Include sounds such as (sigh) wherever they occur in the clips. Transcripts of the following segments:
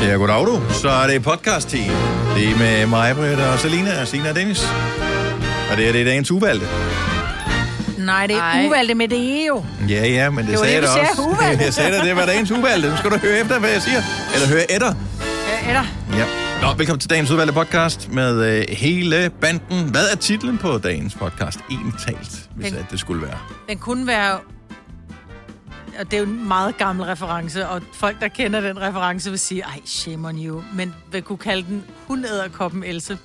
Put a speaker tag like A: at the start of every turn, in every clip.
A: siger goddag du, så er det podcast-tid. Det er med mig, Britt og Selina og Sina og Dennis. Og det er det dagens uvalgte.
B: Nej, det er
C: Ej.
B: uvalgte med det E, jo.
A: Ja, ja, men det,
B: Det var
A: sagde jeg
B: det, du
A: da
B: sagde,
A: også. (laughs)
B: uvalgte.
A: jeg sagde da, det var dagens uvalgte. Nu skal du høre efter, hvad jeg siger. Eller høre etter.
B: Øh, Eller?
A: Ja. Nå, velkommen til dagens udvalgte podcast med øh, hele banden. Hvad er titlen på dagens podcast? En talt, hvis
B: Den-
A: at det skulle være.
B: Den kunne være... Og det er jo en meget gammel reference, og folk, der kender den reference, vil sige, ej, shame on you. Men vil kunne kalde den hundæderkoppen Else.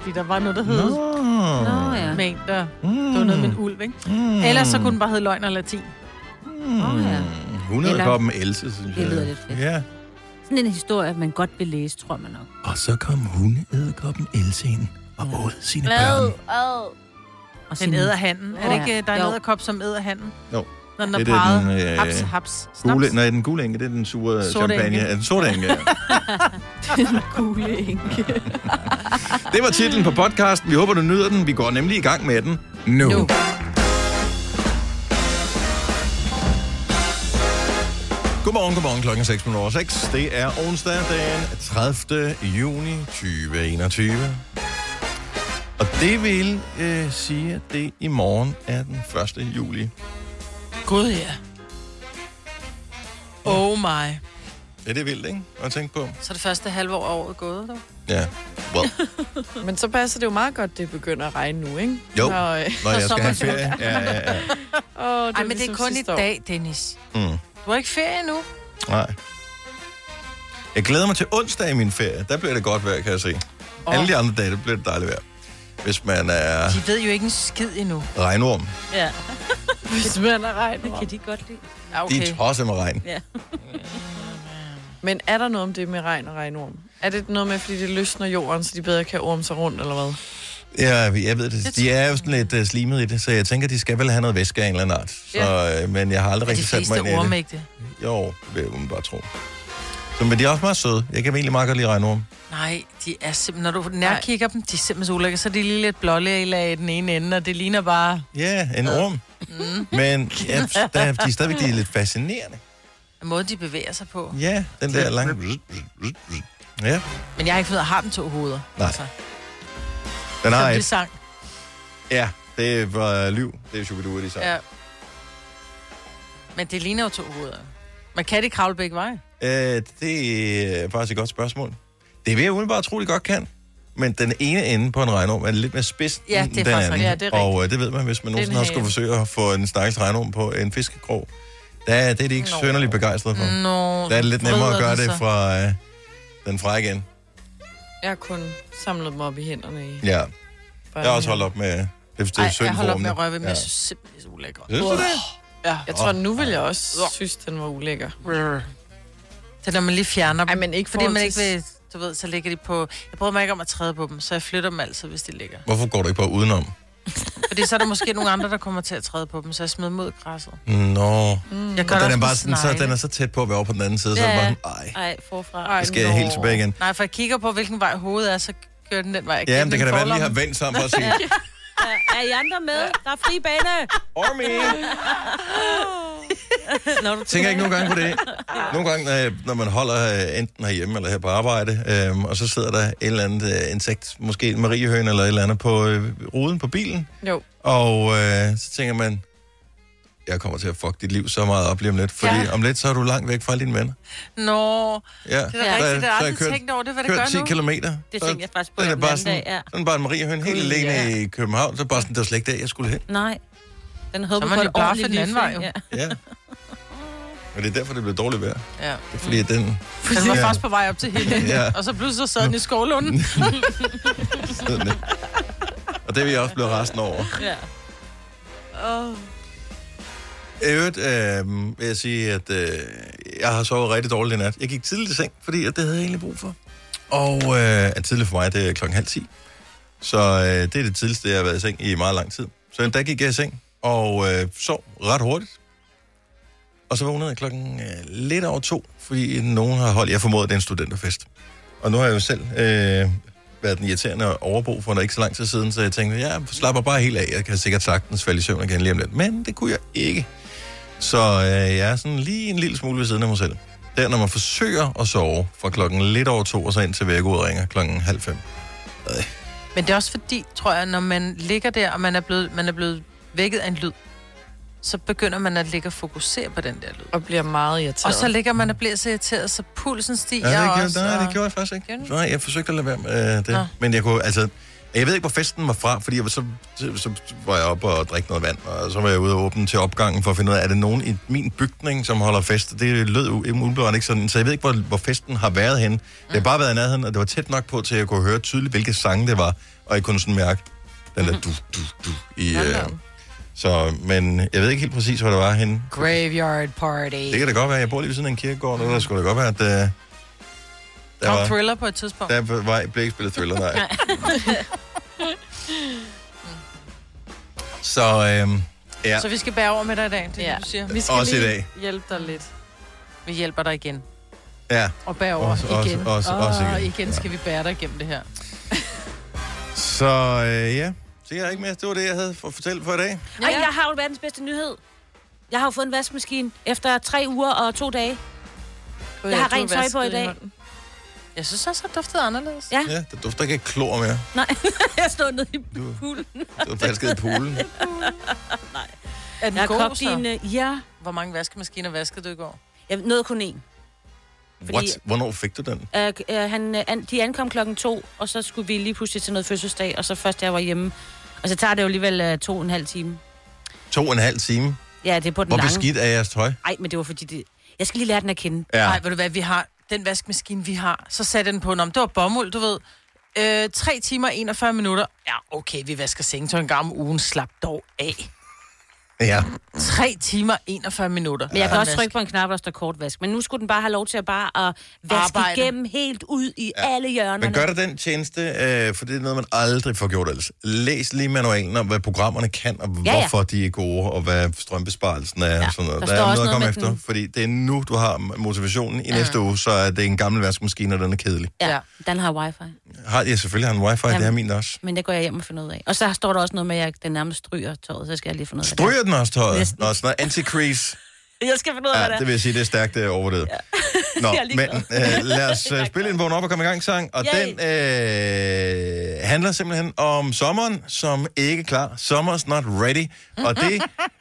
B: Fordi der var noget, der hed... Nå.
C: Nå, ja.
B: Med en, der... Mm. Det var noget med en ulv, ikke? Mm. Ellers så kunne den bare hedde løgn og latin.
C: Nå, ja.
A: 100 koppen Else, synes jeg.
C: Det lyder lidt fedt.
A: Ja.
C: Sådan en historie, man godt vil læse, tror man nok.
A: Og så kom hundeæderkoppen Else ind og åd sine børn.
C: Og
B: Den æder handen. Er det
C: Ja.
B: ikke, øh, der er en
C: Jo.
B: æderkop, som æder handen?
A: Jo.
B: Når den er
A: Det er den,
B: parret.
A: øh,
B: haps, haps, snaps.
A: Gule, nej, den gule enke, det er den sure
B: Sorte
A: champagne.
B: enke.
A: Ja, Den sorte enke, ja.
C: (laughs) kugle enke.
A: Det var titlen på podcasten. Vi håber, du nyder den. Vi går nemlig i gang med den nu. nu.
B: Nu.
A: Godmorgen, godmorgen. Klokken er 6 minutter over 6. Det er onsdag den 30. juni 2021. Og det vil øh, sige, at det i morgen er den 1. juli.
D: Gud, ja. Oh my.
A: Ja, det er vildt, ikke? At tænke på.
D: Så er det første halve år af året gået, dog.
A: Ja. Well,
E: Men så passer det jo meget godt, det begynder at regne nu, ikke?
A: Jo.
E: Når, øh,
B: (laughs)
A: når jeg skal have
B: sommerferie.
A: ferie. Ja, ja, ja.
E: åh, det
B: Ej, men det ligesom er kun i dag, Dennis.
A: Mm.
B: Du har ikke ferie nu.
A: Nej. Jeg glæder mig til onsdag i min ferie. Der bliver det godt vejr, kan jeg se. Oh. Alle de andre dage, der bliver det dejligt vejr. Hvis man er
B: De ved jo ikke en skid endnu.
A: regnorm.
B: Ja.
E: Hvis man er regnet.
C: Kan de godt lide?
E: Ja,
A: Okay. De
E: okay.
A: er tosset med regn.
E: Men er der noget om det med regn og regnorm? Er det noget med, fordi det løsner jorden, så de bedre kan orme sig rundt, eller hvad?
A: Ja, jeg ved det. De er jo sådan lidt uh, slimet i det, så jeg tænker, de skal vel have noget væske af en eller anden art. Så, øh, men jeg har aldrig
B: De
A: rigtig sat mig
B: fleste
A: ind i det.
B: orme ikke det.
A: Jo, det vil man bare tro. Så, men de er også meget søde. Jeg kan egentlig meget godt lide regnorm.
B: Nej, de er simpelthen, når du nærkigger dem, de er simpelthen så ulækkere. Så er de lige lidt blålægelag i den ene ende, og det ligner bare...
A: Ja, en orm. Mm. Men (laughs) ja, der, de er stadigvæk de er lidt fascinerende.
B: Måden, de bevæger sig på.
A: Ja, den der lange... Ja,
B: Men jeg har ikke fundet, har den to hoveder? Altså,
A: Nej. den har
B: Nej.
A: et
B: Det sang.
A: Ja, det var liv. Det er Shubidua, de sang. Ja.
B: Ja. Men det ligner jo to hoveder. Man kan det kravle begge veje.
A: Øh, det er faktisk et godt spørgsmål. Det vil jeg udenbart tro, de godt kan. Men den ene ende på en regnorm er lidt mere spids
B: Ja,
A: end
B: det er
A: den
B: faktisk
A: anden.
B: rigtigt.
E: Ja, det er
A: og øh, det ved man, hvis man
E: Det er en
A: nogensinde har skulle
E: hale.
A: forsøge at få en stakkels regnorm på en fiskekrog. Der, er- det er de ikke
E: Nå.
A: sønderligt begejstrede for. Mm.
B: Nå,
A: Der er det lidt nemmere at gøre
B: vrider
A: det
B: den sig.
A: fra øh, den fra igen.
E: Jeg har kun samlet dem op i hænderne. I
A: Ja, jeg har
E: børnehaven.
A: også holdt op med... Det, det er
B: Ej,
A: synd
B: jeg holder op
A: for
B: med at
A: ormene.
B: røre ved, men
A: ja.
B: jeg synes simpelthen, det er så ulækkert.
A: Synes du det?
D: Ja.
E: Jeg tror, nu vil jeg også synes, den var ulækker.
B: Det er, når man lige fjerner dem.
E: Ej, men ikke
B: fordi man
E: forhold
B: ikke
E: til-
B: vil, du ved, så ligger de på... Jeg prøver mig ikke om at træde på dem, så jeg flytter dem altid, hvis de ligger.
A: Hvorfor går du ikke bare udenom?
B: Fordi så er der måske nogle andre, der kommer til at træde på dem, så jeg smider dem ud i græsset.
A: Nå.
B: Mm. Jeg gør
A: Og den
B: det
A: er
B: også
A: bare
B: med
A: sådan, så,
B: snegle.
A: den er så tæt på at være over på den anden side, ja. så er det bare, sådan, ej,
C: Ej, forfra.
E: Ej,
A: så skal jeg helt
E: nå.
A: tilbage igen.
B: Nej, for jeg kigger på, hvilken vej hovedet er, så kører den den vej. Jeg
A: Ja,
B: giver
A: men
B: den
A: det kan da
B: en
A: være, at lige
B: forlomme.
A: har vendt sammen for at
B: (laughs)
A: sige,
C: Ja, er I andre med? Der er fri bane.
A: Ormi!
C: Når du
A: Tænker ikke nogle gange på det. Nogle gange, når jeg- når man holder øh, enten herhjemme eller her på arbejde, øhm, og så sidder der et eller andet øh, insekt, måske en mariehøn eller et eller andet, på øh, ruden på bilen,
E: Jo.
A: og øh, så tænker man, jeg kommer til at fuck dit liv så meget op lige om lidt, fordi ja.
B: Ja.
A: om lidt, så er du langt væk fra alle dine venner.
B: Nå,
A: Ja,
B: det er da
A: så
B: rigtigt. Det
A: så
B: har jeg
A: jeg
B: aldrig
A: kørt-
B: tænkt over. Det er, hvad det
A: kørt 10
B: gør nu.
A: kilometer.
C: Det
A: så
C: tænkte jeg faktisk på
A: den er
C: den
A: bare
C: anden
A: sådan,
C: dag, ja.
A: sådan bare en mariehøn, helt
C: Gud,
A: alene
C: ja.
A: i København, så bare sådan, det var slet ikke der, jeg skulle hen.
C: Nej. Den
B: Så
C: håber på
B: er man
C: et
B: jo bare
C: ordentligt
B: for den anden
C: liv,
B: vej, jo.
C: Ja. (laughs)
A: Ja. Og det er derfor, det blev dårligt vejr. Det
B: Ja.
A: er fordi, at den
B: Den var
A: Ja.
B: faktisk på vej op til hende,
A: Ja. Mm.
B: ja. og så pludselig så sad den i
C: (laughs)
B: skovlunden.
A: sidder ned. Og det vil jeg også blive resten over.
C: ja.
A: I øvrigt øh, vil jeg sige, at øh, jeg har sovet rigtig dårligt i nat. Jeg gik tidligt i seng, fordi at det havde jeg egentlig brug for. Og øh, at tidligt for mig, det er klokken halv ti. Så øh, det er det tidligste, jeg har været i seng i meget lang tid. Så der gik jeg i seng og øh, sov ret hurtigt. Og så vågnede jeg klokken øh, lidt over to, fordi nogen har holdt, jeg formoder, det er en studenterfest. Og nu har jeg jo selv øh, været den irriterende overbo for ikke så lang tid siden, så jeg tænkte, jeg slapper bare helt af, jeg kan sikkert sagtens falde i søvn igen lige om lidt. Men det kunne jeg ikke. Så øh, jeg er sådan lige en lille smule ved siden af mig selv. Det er, når man forsøger at sove fra klokken lidt over to, og så ind til vækkeuret ringer klokken halv fem.
B: Men det er også fordi, tror jeg, når man ligger der, og man er blevet, man er blevet vækket af en lyd, så begynder man at ligge og fokusere på den der lyd.
E: Og bliver meget irriteret.
B: Og så ligger man og bliver så irriteret, så pulsen stiger
A: Ja, det gjorde,
B: også.
A: nej,
B: og-
A: det gjorde jeg faktisk ikke.
B: Gjorde du?
A: Nej, jeg forsøgte at lade være med øh, det.
B: Nå.
A: Men jeg kunne, altså... Jeg ved ikke, hvor festen var fra, fordi jeg var så, så, så var jeg oppe og drikke noget vand, og så var jeg ude og åbne til opgangen for at finde ud af, er det nogen i min bygning, som holder fest? Det lød u- umiddelbart ikke sådan, så jeg ved ikke, hvor, hvor festen har været henne. Det har
B: Mm.
A: bare været i nærheden, og det var tæt nok på, til at jeg kunne høre tydeligt, hvilke sange det var, og jeg kunne sådan mærke den der
B: Mm-hmm.
A: du, du, du i... Øh, så, men jeg ved ikke helt præcis, hvor det var henne.
B: Graveyard party.
A: Det kan da godt være, jeg bor lige ved siden af en kirkegård, og der skulle da godt være, at... Øh, der
B: Kom thriller på et tidspunkt.
A: der var, blev ikke spillet thriller, nej. (laughs) så øhm, ja,
B: Så vi skal bære over med dig i dag, det er
E: Ja.
B: det, du siger.
E: Vi skal
A: Også i
E: lige
A: dag.
E: hjælpe dig lidt.
B: Vi hjælper dig igen.
A: ja.
B: Og bære over
A: Også- også-
B: igen.
A: også- også
B: Åh,
A: igen.
B: igen skal vi bære dig igennem det her.
A: Så øh, ja, så jeg er ikke mere. Det var det, jeg havde for at fortælle for i dag.
C: Ej, jeg har jo verdens bedste nyhed. Jeg har jo fået en vaskemaskine efter tre uger og to dage. Jeg har
E: tog
C: rent tøj på i
E: vasken
C: dag.
E: hånden.
B: Jeg synes også, at det duftede anderledes.
C: Ja.
A: Ja, der dufter ikke af klor mere.
C: Nej, (laughs) jeg stod nede i poolen.
A: Det var falsket i poolen.
B: Er den
C: Jeg har
B: god,
C: kogt
B: så?
C: din... øh, Ja,
B: Hvor mange vaskemaskiner vaskede du i går?
C: jeg nåede kun én.
A: What? Hvornår fik du den?
C: Øh, øh, han, øh, an, de ankom klokken to, og så skulle vi lige pludselig til noget fødselsdag, og så først da jeg var hjemme. Og så tager det jo alligevel øh, to og en halv time.
A: To og en halv time.
C: Ja, det er på den
A: Hvor
C: lange.
A: beskidt er jeres tøj?
C: Ej, men det var fordi det... Jeg skal lige lære den at kende.
A: Ja.
B: Nej, ved du hvad, vi har den vaskemaskine, vi har. Så satte jeg den på, om det var bomuld, du ved. Øh, 3 timer og 41 minutter. Ja, okay, vi vasker sengetøj en gang om ugen. Slap dog af.
A: ja.
B: 3 timer og 41 minutter.
C: Men jeg kan
B: Ja.
C: også trykke på en knap, der står kort vask. Men nu skulle den bare have lov til at bare at vaske
B: Arbejde.
C: Arbejde. igennem helt ud i ja. alle hjørnerne.
A: Men gør dig den tjeneste, øh, for det er noget, man aldrig får gjort ellers. Læs lige manualen om, hvad programmerne kan, og ja,
C: Ja,
A: ja.
C: ja.
A: hvorfor de er gode, og hvad strømbesparelsen er. Ja, og sådan noget.
C: der
A: Der, der
C: står
A: er
C: også
A: noget at komme
C: noget med
A: efter,
C: den.
A: fordi det er nu, du har motivationen. I ja. næste uge, så er det en gammel vaskemaskine, og den er kedelig.
C: Ja,
B: Ja.
C: den har wifi.
A: Har, ja, selvfølgelig har den wifi, Jamen. det er min også.
C: Men det går jeg hjem og finder ud af. Og så står der også noget med, at jeg- den nærmest stryger tøjet, så skal jeg lige finde ud af det.
A: Stryger den også tøjet?
C: Næsten.
A: Nå, sådan noget anti-crease.
C: Jeg skal finde ud af,
A: Ja,
C: hvad
A: det vil jeg sige, det er stærkt øh, overdrevet. Ja. Nå,
C: (laughs) Jeg er
A: men
C: ligeglad.
A: øh, lad
C: (laughs)
A: os øh, spille en vågen op og komme i gang sang, og
C: Yay.
A: den øh, handler simpelthen om sommeren, som ikke er klar. Summer's not ready, og
C: (laughs)
A: det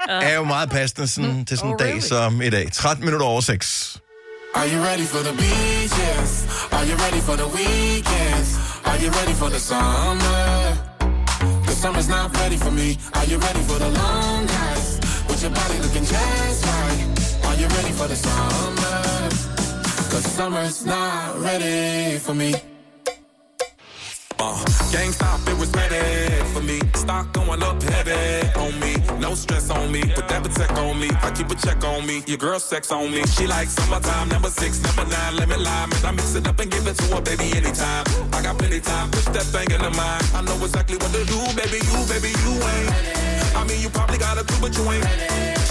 A: er jo meget passende
C: Mm.
A: sådan, til sådan
C: Oh,
A: en dag som i dag. 13 minutter over 6.
F: Are you ready for the beaches? Are you ready for the weekends? Are you ready for the summer? The summer's not ready for me. Are you ready for the long nights? With your body looking just right. Are you ready for the summer? Cause summer's not ready for me. Uh, gang stop, it was ready for me. Stock going up heavy on me. No stress on me, put that protect on me. I keep a check on me. Your girl sex on me. She like summertime, number six, number nine. Let me lie, man. I mix it up and give it to her, baby, anytime. I got plenty time, push that thing in the mind. I know exactly what to do, baby. You, baby, you ain't. I mean, you probably got a crew, but you ain't.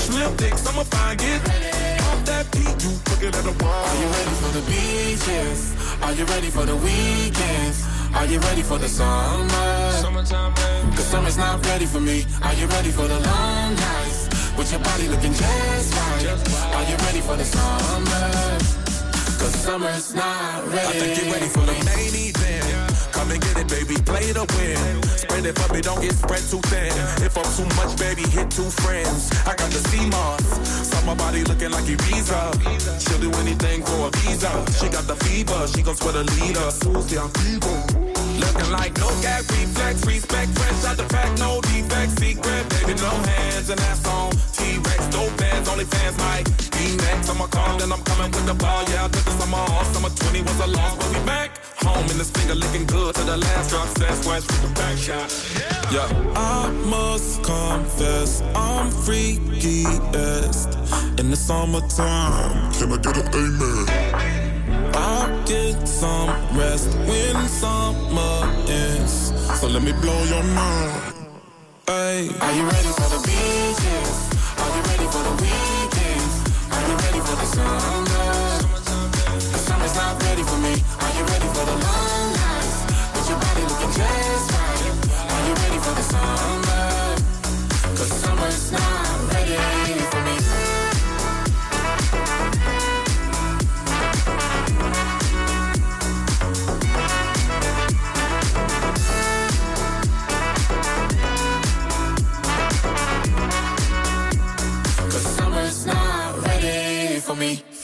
F: Slim dicks, I'ma find it. Off that beat, you looking at the wall. Are you ready for the beaches? Are you ready for the weekends? Are you ready for the summer? Summertime, Cause summer's not ready for me. Are you ready for the long nights? With your body looking just right. Are you ready for the summer? Cause summer's not ready. I think you're ready for the main event. Come and get it, baby. Play to win. Spread it for me, don't get spread too thin. If I'm too much, baby, hit two friends. I got the sea moss. Saw my body looking like Ibiza. She'll do anything for a visa. She got the fever. She gon' sweat a leader. Susie, I'm fever. Looking like no gag reflex, respect fresh out the pack, no defect, secret, baby, no hands, and that's on T-Rex, dope fans, only fans might be next. I'ma call, then I'm coming with the ball, yeah, I took the summer off, summer 20 was a loss, but we back home, and this finger looking good to the last drop, that's west with the back shot, yeah. I must confess, I'm freakiest in the summertime. Can I get an amen? I'll get some rest when summer ends. So let me blow your mind. Hey. Are you ready for the beaches? Are you ready for the weekends? Are you ready for the summer? The summer's not ready for me. Are you ready for the long nights? With your body looking just right. Are you ready for the summer? Cause summer's not ready for me.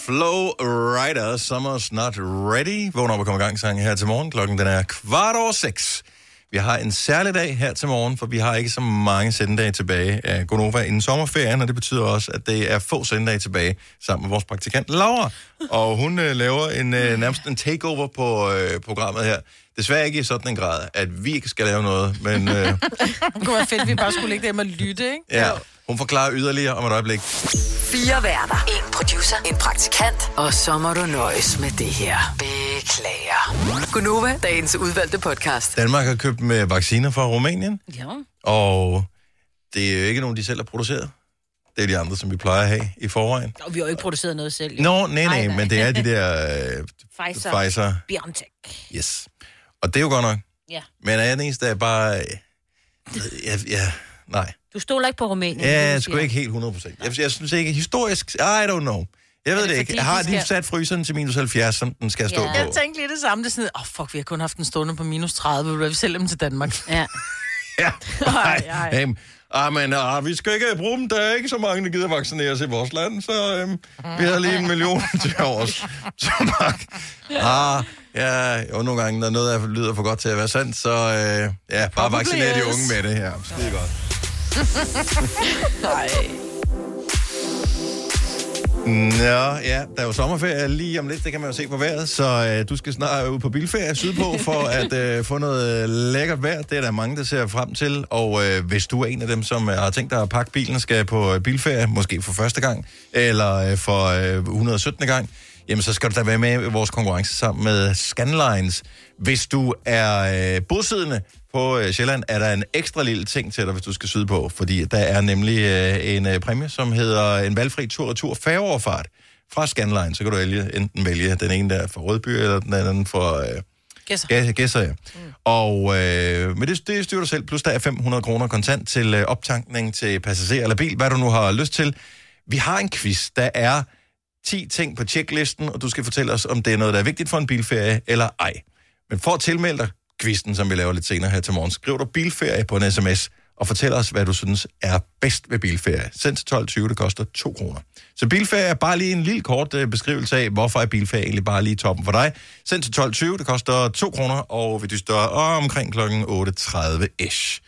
A: Flow Rider, Summer's Not Ready. Vågn op og kom i gang sang her til morgen. Klokken den er kvart over seks. Vi har en særlig dag her til morgen, for vi har ikke så mange sendedage tilbage af Gonova inden sommerferien, og det betyder også, at det er få sendedage tilbage sammen med vores praktikant Laura. Og hun øh, laver en, øh, nærmest en takeover på øh, programmet her. Desværre ikke i sådan en grad, at vi ikke skal lave noget, men øh,
B: Det kunne være fedt, at vi bare skulle ligge derhjemme og lytte, ikke?
A: ja, hun forklarer yderligere om et øjeblik.
G: Fire værter. En producer. En praktikant. Og så må du nøjes med det her. Beklager. Gunova, dagens udvalgte podcast.
A: Danmark har købt med vacciner fra Rumænien.
C: Ja.
A: Og det er jo ikke nogen, de selv har produceret. Det er de andre, som vi plejer at have i forvejen.
C: Og vi har jo ikke produceret noget selv. jo.
A: Nå, nej, nej,
C: nej.
A: men det er de der øh,
C: Pfizer.
A: Pfizer.
C: Biontech.
A: Yes. Og det er jo godt nok.
C: Ja.
A: Men er jeg den eneste, der er bare... Øh, ja, ja, nej.
C: Du stoler ikke på Rumænien. det
A: Ja,
C: er det,
A: jeg
C: du
A: er sgu
C: siger.
A: ikke helt 100 procent. Jeg, jeg synes ikke, historisk... I don't know. Jeg ved
B: det
A: det,
B: fordi,
A: ikke. Har
B: de
A: de
B: skal-
A: sat fryseren til minus 70, som den skal stå
C: Ja.
A: på?
B: Jeg tænkte lige det samme. Det er sådan, åh oh, fuck, vi har kun haft en stående på minus 30. Vil du hvad, vi sælge dem til Danmark?
C: Ja.
A: Ja. Nej,
B: ej.
A: nej. Ah, men ah, vi skal ikke bruge dem. Der er ikke så mange, der gider vaccinere sig i vores land, så øhm, vi har lige en million (laughs) til os. Så mange. Ah, ja, og nogle gange, når noget er, lyder for godt til at være sandt, så øh, ja, bare vaccinere de unge med det her. Det er godt. Nå, ja, der er jo sommerferie lige om lidt, det kan man jo se på vejret, så øh, du skal snart ud på bilferie sydpå for at øh, få noget øh, lækkert vejr. Det er der mange, der ser frem til, og øh, hvis du er en af dem, som øh, har tænkt dig at pakke bilen og skal på øh, bilferie, måske for første gang, eller øh, for øh, 117. gang, jamen så skal du da være med i vores konkurrence sammen med Scanlines. Hvis du er øh, bosiddende på øh, Sjælland, er der en ekstra lille ting til dig, hvis du skal sydpå, fordi der er nemlig øh, en øh, præmie, som hedder en valgfri tur-retur færgeoverfart fra Scanline. Så kan du vælge, enten vælge den ene, der er fra Rødby, eller den anden fra øh,
B: Gæsser.
A: Gæ- Gæsser. Ja. Mm. Og, øh, men det, det styrer du selv, plus der er 500 kroner kontant til øh, optankning til passager eller bil, hvad du nu har lyst til. Vi har en quiz, der er 10 ting på checklisten, og du skal fortælle os, om det er noget, der er vigtigt for en bilferie eller ej. Men for at tilmelde dig quizzen, som vi laver lidt senere her til morgen, skriv du bilferie på en sms, og fortæl os, hvad du synes er bedst ved bilferie. Send til 12.20, det koster 2 kroner. Så bilferie er bare lige en lille kort øh, beskrivelse af, hvorfor er bilferie egentlig bare lige toppen for dig. Send til 12.20, det koster 2 kroner, og vi dyster omkring kl. 8.30-ish.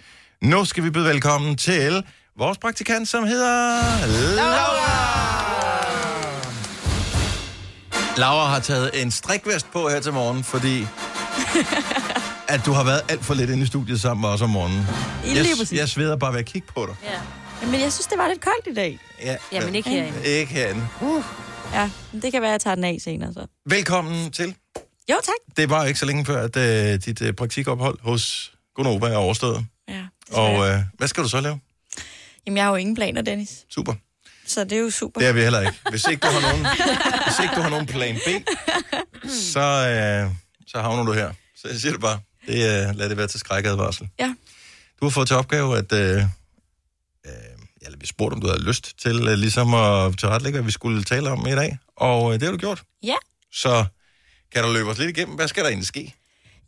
A: Nu skal vi byde velkommen til vores praktikant, som hedder Laura. Laura har taget en strikvest på her til morgen, fordi at du har været alt for lidt inde i studiet sammen med os om morgenen. Jeg,
H: lige præcis.
A: jeg sveder bare ved at kigge på dig.
C: ja.
H: Men jeg synes, det var lidt koldt i dag.
A: Ja,
C: Jamen ikke herinde.
A: Ikke herinde.
H: Ja, men det kan være, at jeg tager den af senere så.
A: Velkommen til.
H: Jo, tak.
A: Det var jo ikke så længe før, at uh, dit uh, praktikophold hos Gunova er overstået.
H: Ja,
A: Og
H: og, øh...
A: uh, hvad skal du så lave?
H: Jamen, jeg har jo ingen planer, Dennis.
A: Super.
H: Så det er jo super.
A: Det er vi heller ikke. Hvis ikke du har nogen, hvis ikke du har nogen plan B, så, uh, så havner du her. Så jeg siger det bare. Det, uh, lad det være til skrækadvarsel.
H: Ja.
A: Du har fået til opgave, at... Øh, øh, eller vi spurgte, om du havde lyst til øh, ligesom at tilrettelægge, hvad vi skulle tale om i dag. Og øh, det har du gjort.
H: Ja.
A: Så kan du løbe os lidt igennem. Hvad skal der egentlig ske?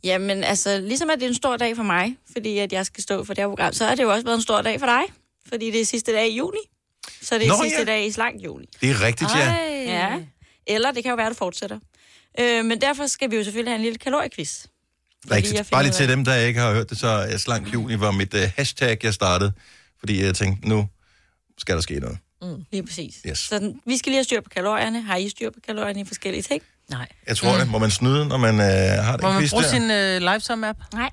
H: Jamen, altså, ligesom at det er en stor dag for mig, fordi at jeg skal stå for det her program, så har det jo også været en stor dag for dig, fordi det er sidste dag i juni. Så det er
A: Nå, ja.
H: Nå, sidste ja. dag i slank juni.
A: Det er rigtigt, ja.
C: Ej.
H: Ja. Eller det kan jo være, at det fortsætter. Øh, men derfor skal vi jo selvfølgelig have en lille kaloriequiz. jeg
A: Rigtigt.
H: finder
A: Bare lige
H: ud
A: til dem, der ikke har hørt det, så øh, slank juni var mit øh, hashtag, jeg startede. Fordi jeg tænkte, nu skal der ske noget.
H: Lige præcis.
A: Yes.
H: Så den- vi skal lige have styr på kalorierne. Har I styr på kalorierne i forskellige ting?
C: Nej.
A: Jeg tror mm. det. Må man snyde, når man øh, har det
B: Må man
A: quiz
B: bruge
A: der?
B: sin uh, Lifetime-app?
H: Nej,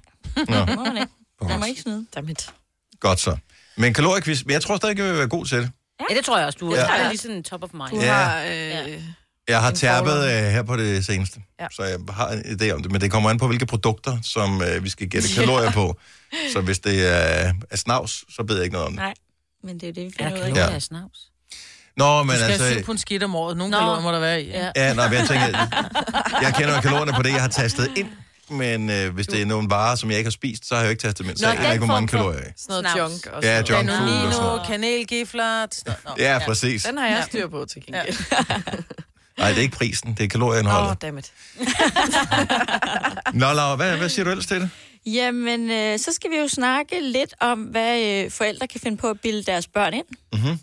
A: Nå,
H: (laughs) må man ikke. Man må ikke snyde.
E: Dammit.
A: godt så. Men kaloriequiz, men jeg tror stadig, jeg vil være god til det.
C: Ja, det tror jeg også, du er.
A: Ja.
C: Ja. Det
B: ligesom,
C: er lige sådan top of mind.
E: Du
A: Ja.
E: ja. har... Øh,
A: Jeg har
E: En
A: tærpet
E: forlom.
A: øh, her på det seneste, ja.
E: Ja.
A: så jeg har en idé om det. Men det kommer an på, hvilke produkter, som øh, vi skal gætte kalorier på. Så hvis det er, er snavs, så ved jeg ikke noget om det.
H: Nej, men det er jo det, vi
C: Er
H: finder ud
C: der
H: af.
C: kalorier i snavs?
A: Nå, men
B: Du skal have syv
A: altså...
B: pund skidt om året. Nogle
C: Nå.
B: kalorier må der være i.
C: Ja.
A: Ja, nej, men jeg tænker, jeg kender jo kalorierne på det, jeg har tastet ind. Men øh, hvis det er nogle varer, som jeg ikke har spist, så har jeg jo ikke tastet dem ind. Så
C: Nå,
A: jeg aner
C: den
A: ikke, hvor mange
C: form for-
A: kalorier jeg
E: sådan noget
C: Snavs.
E: junk og
A: Ja,
E: sådan noget.
A: junk food og sådan
B: Danonino,
A: noget.
B: kanelgifler. t- Nå, nå.
A: Ja, præcis.
E: Den har jeg styr på til gengæld.
A: Nej, det er ikke prisen, det
E: Åh,
A: er
E: oh,
A: kalorieindholdet.
E: dammit.
A: Nå, Laura, hvad, hvad siger du ellers til det?
H: Jamen, øh, så skal vi jo snakke lidt om, hvad øh, forældre kan finde på at
A: Mhm.
H: bilde deres børn ind. Mm-hmm.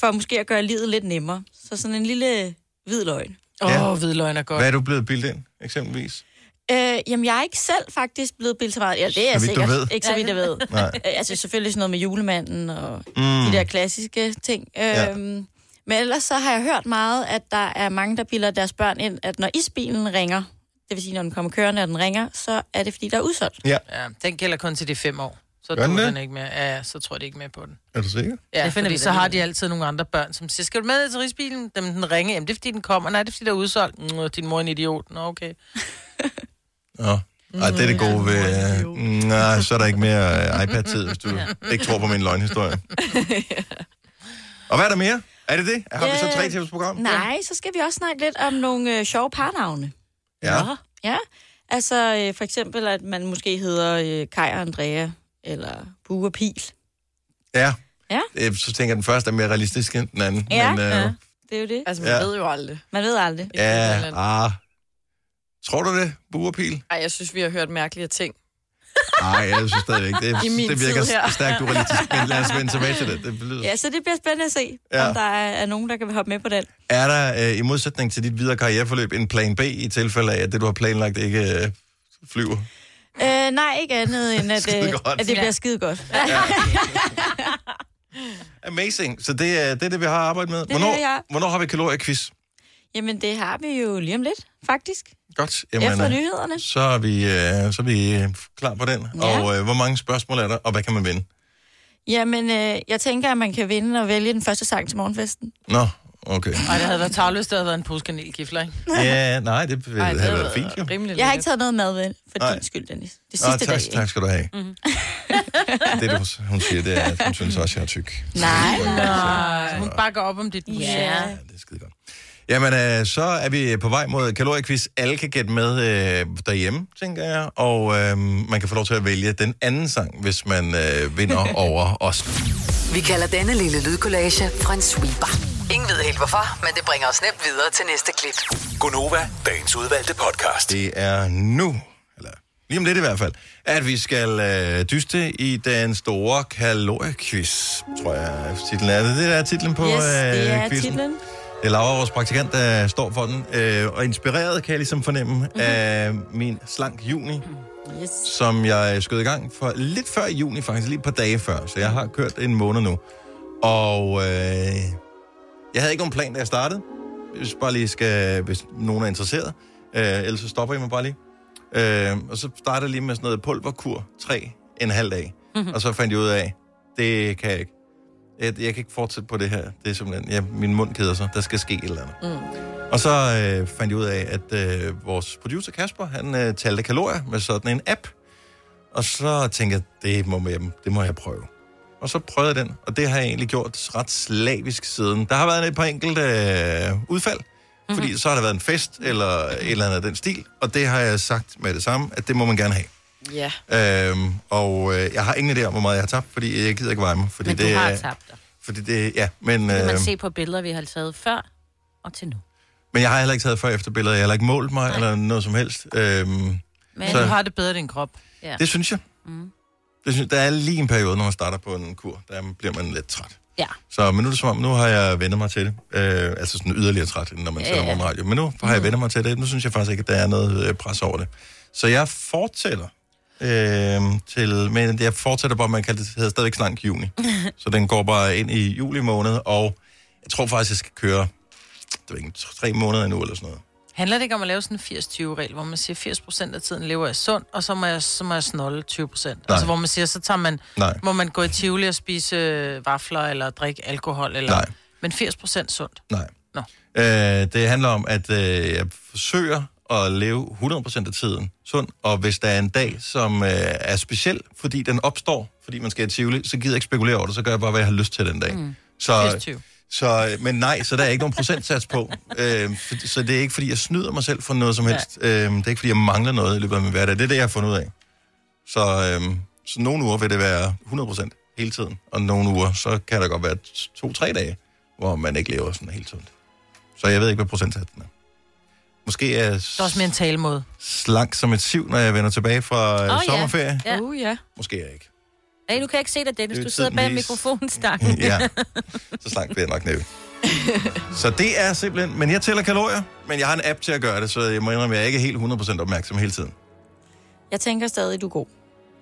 H: For måske at gøre livet lidt nemmere. Så sådan en lille hvidløgn.
B: Åh, ja. oh, hvidløgn er godt.
A: Hvad er du blevet bildt ind, eksempelvis?
H: Øh, jamen, jeg er ikke selv faktisk blevet bildt så meget. Ja, det er jeg
A: vidt du
H: sikkert.
A: ved.
H: Ikke så vidt jeg ved. (laughs)
A: Nej.
H: Øh, altså, selvfølgelig sådan noget med julemanden og
A: Mm.
H: de der klassiske ting.
A: Ja.
H: Øhm, men ellers så har jeg hørt meget, at der er mange, der bilder deres børn ind, at når isbilen ringer, det vil sige, når den kommer kørende, og den ringer, så er det, fordi der er udsolgt.
A: Ja,
B: Ja, den gælder kun til de fem år. Så
A: Gør den
B: tror
A: det?
B: den ikke med. Ja, så tror jeg de ikke med på den.
A: er du sikker?
B: Ja,
C: Det
B: det
C: finder
B: finder
C: vi
B: fordi
C: da
B: så
C: lige
B: har
C: ud
B: de altid nogle andre børn, som siger, skal du med ned til rigsbilen? Dem den ringer, jamen det er fordi den kommer. Nej, det er fordi der er udsolgt. Mm, din mor er en idiot. Nå, okay.
A: Nå. Ej, det er det gode ved... øh,
H: Mm.
A: Nej, så er der ikke mere øh, iPad-tid, hvis du ikke tror på min
H: (laughs)
A: løgnhistorie. Og hvad er der mere? Er det det? Har vi så tre
H: Øh,
A: tips program?
H: Nej, så skal vi også snakke lidt om nogle øh, sjove parnavne.
A: Ja.
H: Ja, altså øh, for eksempel, at man måske hedder øh, Kai og Andrea, eller Bue og Pil.
A: Ja.
H: Ja.
A: Øh, Så tænker jeg, den første er mere realistisk end den anden.
H: Ja,
A: men, øh,
H: ja. Det er jo det.
E: Altså, man
A: Ja.
E: ja. ved jo aldrig.
H: Man ved aldrig.
A: ja ah. Tror du det, buerpil?
E: Ej, jeg synes, vi har hørt mærkelige ting.
A: Nej, jeg synes stadigvæk. Det,
E: I min
A: det virker
E: tid her.
A: stærkt urealistisk, men lad os vende tilbage til det. det lyder.
H: Ja, så det bliver spændende at se,
A: Ja.
H: ja. om der er, er nogen, der kan hoppe med på den.
A: Er der, øh, i modsætning til dit videre karriereforløb, en plan B i tilfælde af, at det, du har planlagt, ikke øh, flyver?
H: Øh, nej, ikke andet
A: (laughs)
H: end, at, øh,
A: Skidegodt.
H: at det bliver skide godt. Ja,
A: Amazing. Så det er det, er det vi har arbejdet med.
H: er det,
A: Hvornår,
H: vi har.
A: hvornår har vi kaloriequiz?
H: Jamen, det har vi jo lige om lidt, faktisk.
A: Godt.
H: Efter
A: øh,
H: nyhederne.
A: så er vi, øh, så er vi øh, klar på den.
H: Ja.
A: Og øh, hvor mange spørgsmål er der, og hvad kan man vinde?
H: Jamen, øh, jeg tænker, at man kan vinde og vælge den første sang til morgenfesten.
A: Nå,
H: (laughs)
A: okay.
B: Ej, det havde været tavløst, der havde været en pose kanelgifler, ikke?
A: Ja, nej, det ville
E: Ej,
A: have været fint, jo.
E: Rimelig
H: Jeg har ikke taget noget mad med, for
A: Nej.
H: din skyld, Dennis. Det
A: Nå,
H: sidste
A: tak,
H: dag. Mhm. ikke?
A: tak skal du have. Mm. (laughs) det, du, hun siger, det er, at hun synes også, jeg er tyk.
H: Nej,
B: Nej. Hun bakker op om dit projekt.
A: Ja, det er skide godt. Jamen, øh, så er vi på vej mod kaloriequiz. Alle kan gætte med øh, derhjemme, tænker jeg. Og øh, man kan få lov til at vælge den anden sang, hvis man øh, vinder over os.
G: Vi kalder denne lille lydkollage en sweeper. Ingen ved helt hvorfor, men det bringer os nemt videre til næste klip.
F: Gonova, dagens udvalgte podcast.
A: Det er nu, eller lige om lidt i hvert fald, at vi skal øh, dyste i den store kaloriequiz, tror jeg titlen er. Det, det er titlen på
H: yes,
A: øh,
H: det er
A: quizzen.
H: titlen.
A: Det er Laura, vores praktikant, der står for den. Øh, og inspireret, kan jeg ligesom fornemme,
H: Mhm.
A: mm-hmm. af min slank juni,
H: Yes.
A: som jeg skød i gang for lidt før i juni, faktisk lige et par dage før. Så jeg har kørt en måned nu. Og øh, jeg havde ikke nogen plan, da jeg startede. Hvis, bare lige skal, hvis nogen er interesseret. Øh, ellers så stopper I mig bare lige. Øh, og så startede jeg lige med sådan noget pulverkur. Tre en halv dag. Mm-hmm. Og så fandt jeg ud af, det kan jeg ikke. Jeg, jeg kan ikke fortsætte på det her. Det er simpelthen, ja, min mund keder sig. Der skal ske et eller andet. Og så øh, fandt jeg ud af, at øh, vores producer Kasper, han øh, talte kalorier med sådan en app. Og så tænkte jeg, det må, jeg, det må jeg prøve. Og så prøvede jeg den, og det har jeg egentlig gjort ret slavisk siden. Der har været et par enkelte øh, udfald,
C: Mhm.
A: mm-hmm. fordi så har der været en fest eller et eller andet af den stil, og det har jeg sagt med det samme, at det må man gerne have.
E: Ja.
A: Øhm, og øh, jeg har ingen idé om, hvor meget jeg har tabt, fordi jeg gider ikke veje mig. Fordi
C: Men du
A: det,
C: har
A: er-
C: tabt dig.
A: Fordi det, ja, men,
C: Kan
A: øh,
C: man se på billeder, vi har taget før og til nu.
A: men jeg har heller ikke taget før efter billeder. Jeg har heller ikke målt mig eller noget som helst. Øhm,
C: Men
A: Så-
B: Du har det bedre i din krop.
A: Det synes jeg. Mm. Det synes, der er lige en periode, når man starter på en kur, der bliver man lidt træt.
C: Ja.
A: Så, men nu er det som om, nu har jeg vendt mig til det. Øh, altså sådan yderligere træt, end når man
C: Ja,
A: sender
C: ja. Mm.
A: morgenradio. Men nu har jeg vendt mig til det. Nu synes jeg faktisk ikke, at der er noget øh, pres over det. Så jeg fortsætter. Øh, til, men jeg fortsætter bare, man kan det hedder stadigvæk slank juni.
C: (laughs)
A: så den går bare ind i juli måned, og jeg tror faktisk, jeg skal køre det ved ikke, tre måneder endnu eller sådan noget.
B: Handler det ikke om at lave sådan en 80-20-regel, hvor man siger, 80% af tiden lever jeg sund, og så må jeg, så må jeg snolle 20%? Altså, hvor man siger, så tager man,
A: Nej.
B: må man gå i Tivoli og spise øh, vafler, eller drikke alkohol, eller...
A: Nej.
B: Men 80% sundt.
A: Nej.
B: Nå.
A: Øh, det handler om, at øh, jeg forsøger at leve 100% af tiden sund, og hvis der er en dag, som øh, er speciel, fordi den opstår, fordi man skal i Tivoli, så gider jeg ikke spekulere over det, så gør jeg bare, hvad jeg har lyst til den dag. Mm. Så,
B: 80-20.
A: så, øh, men nej, så der er ikke nogen procentsats på. Øh, for, så det er ikke, fordi jeg snyder mig selv for noget som helst. Øh, det er ikke, fordi jeg mangler noget i løbet af min hverdag. Det er det, jeg har fundet ud af. Så, øh, så nogle uger vil det være 100% hele tiden, og nogle uger, så kan der godt være to-tre dage, hvor man ikke lever sådan helt sundt. Så jeg ved ikke, hvad procentsatsen er. Måske er jeg
B: Det er også mere en talemåde.
A: slank som et siv, når jeg vender tilbage fra øh,
C: Åh,
A: oh,
C: ja.
A: sommerferie.
C: Ja.
E: Uh, ja.
A: Måske er jeg ikke.
C: Hey, du kan ikke se dig, Dennis.
A: Det er
C: Du sidder
A: tiden
H: (laughs)
C: bag
A: vis. (laughs)
C: mikrofonen, stak.
A: ja, så slank bliver jeg nok næppe. Så det er simpelthen... Men jeg tæller kalorier, men jeg har en app til at gøre det, så jeg må indrømme, at jeg ikke er helt 100% opmærksom hele tiden.
H: Jeg tænker stadig, du er god.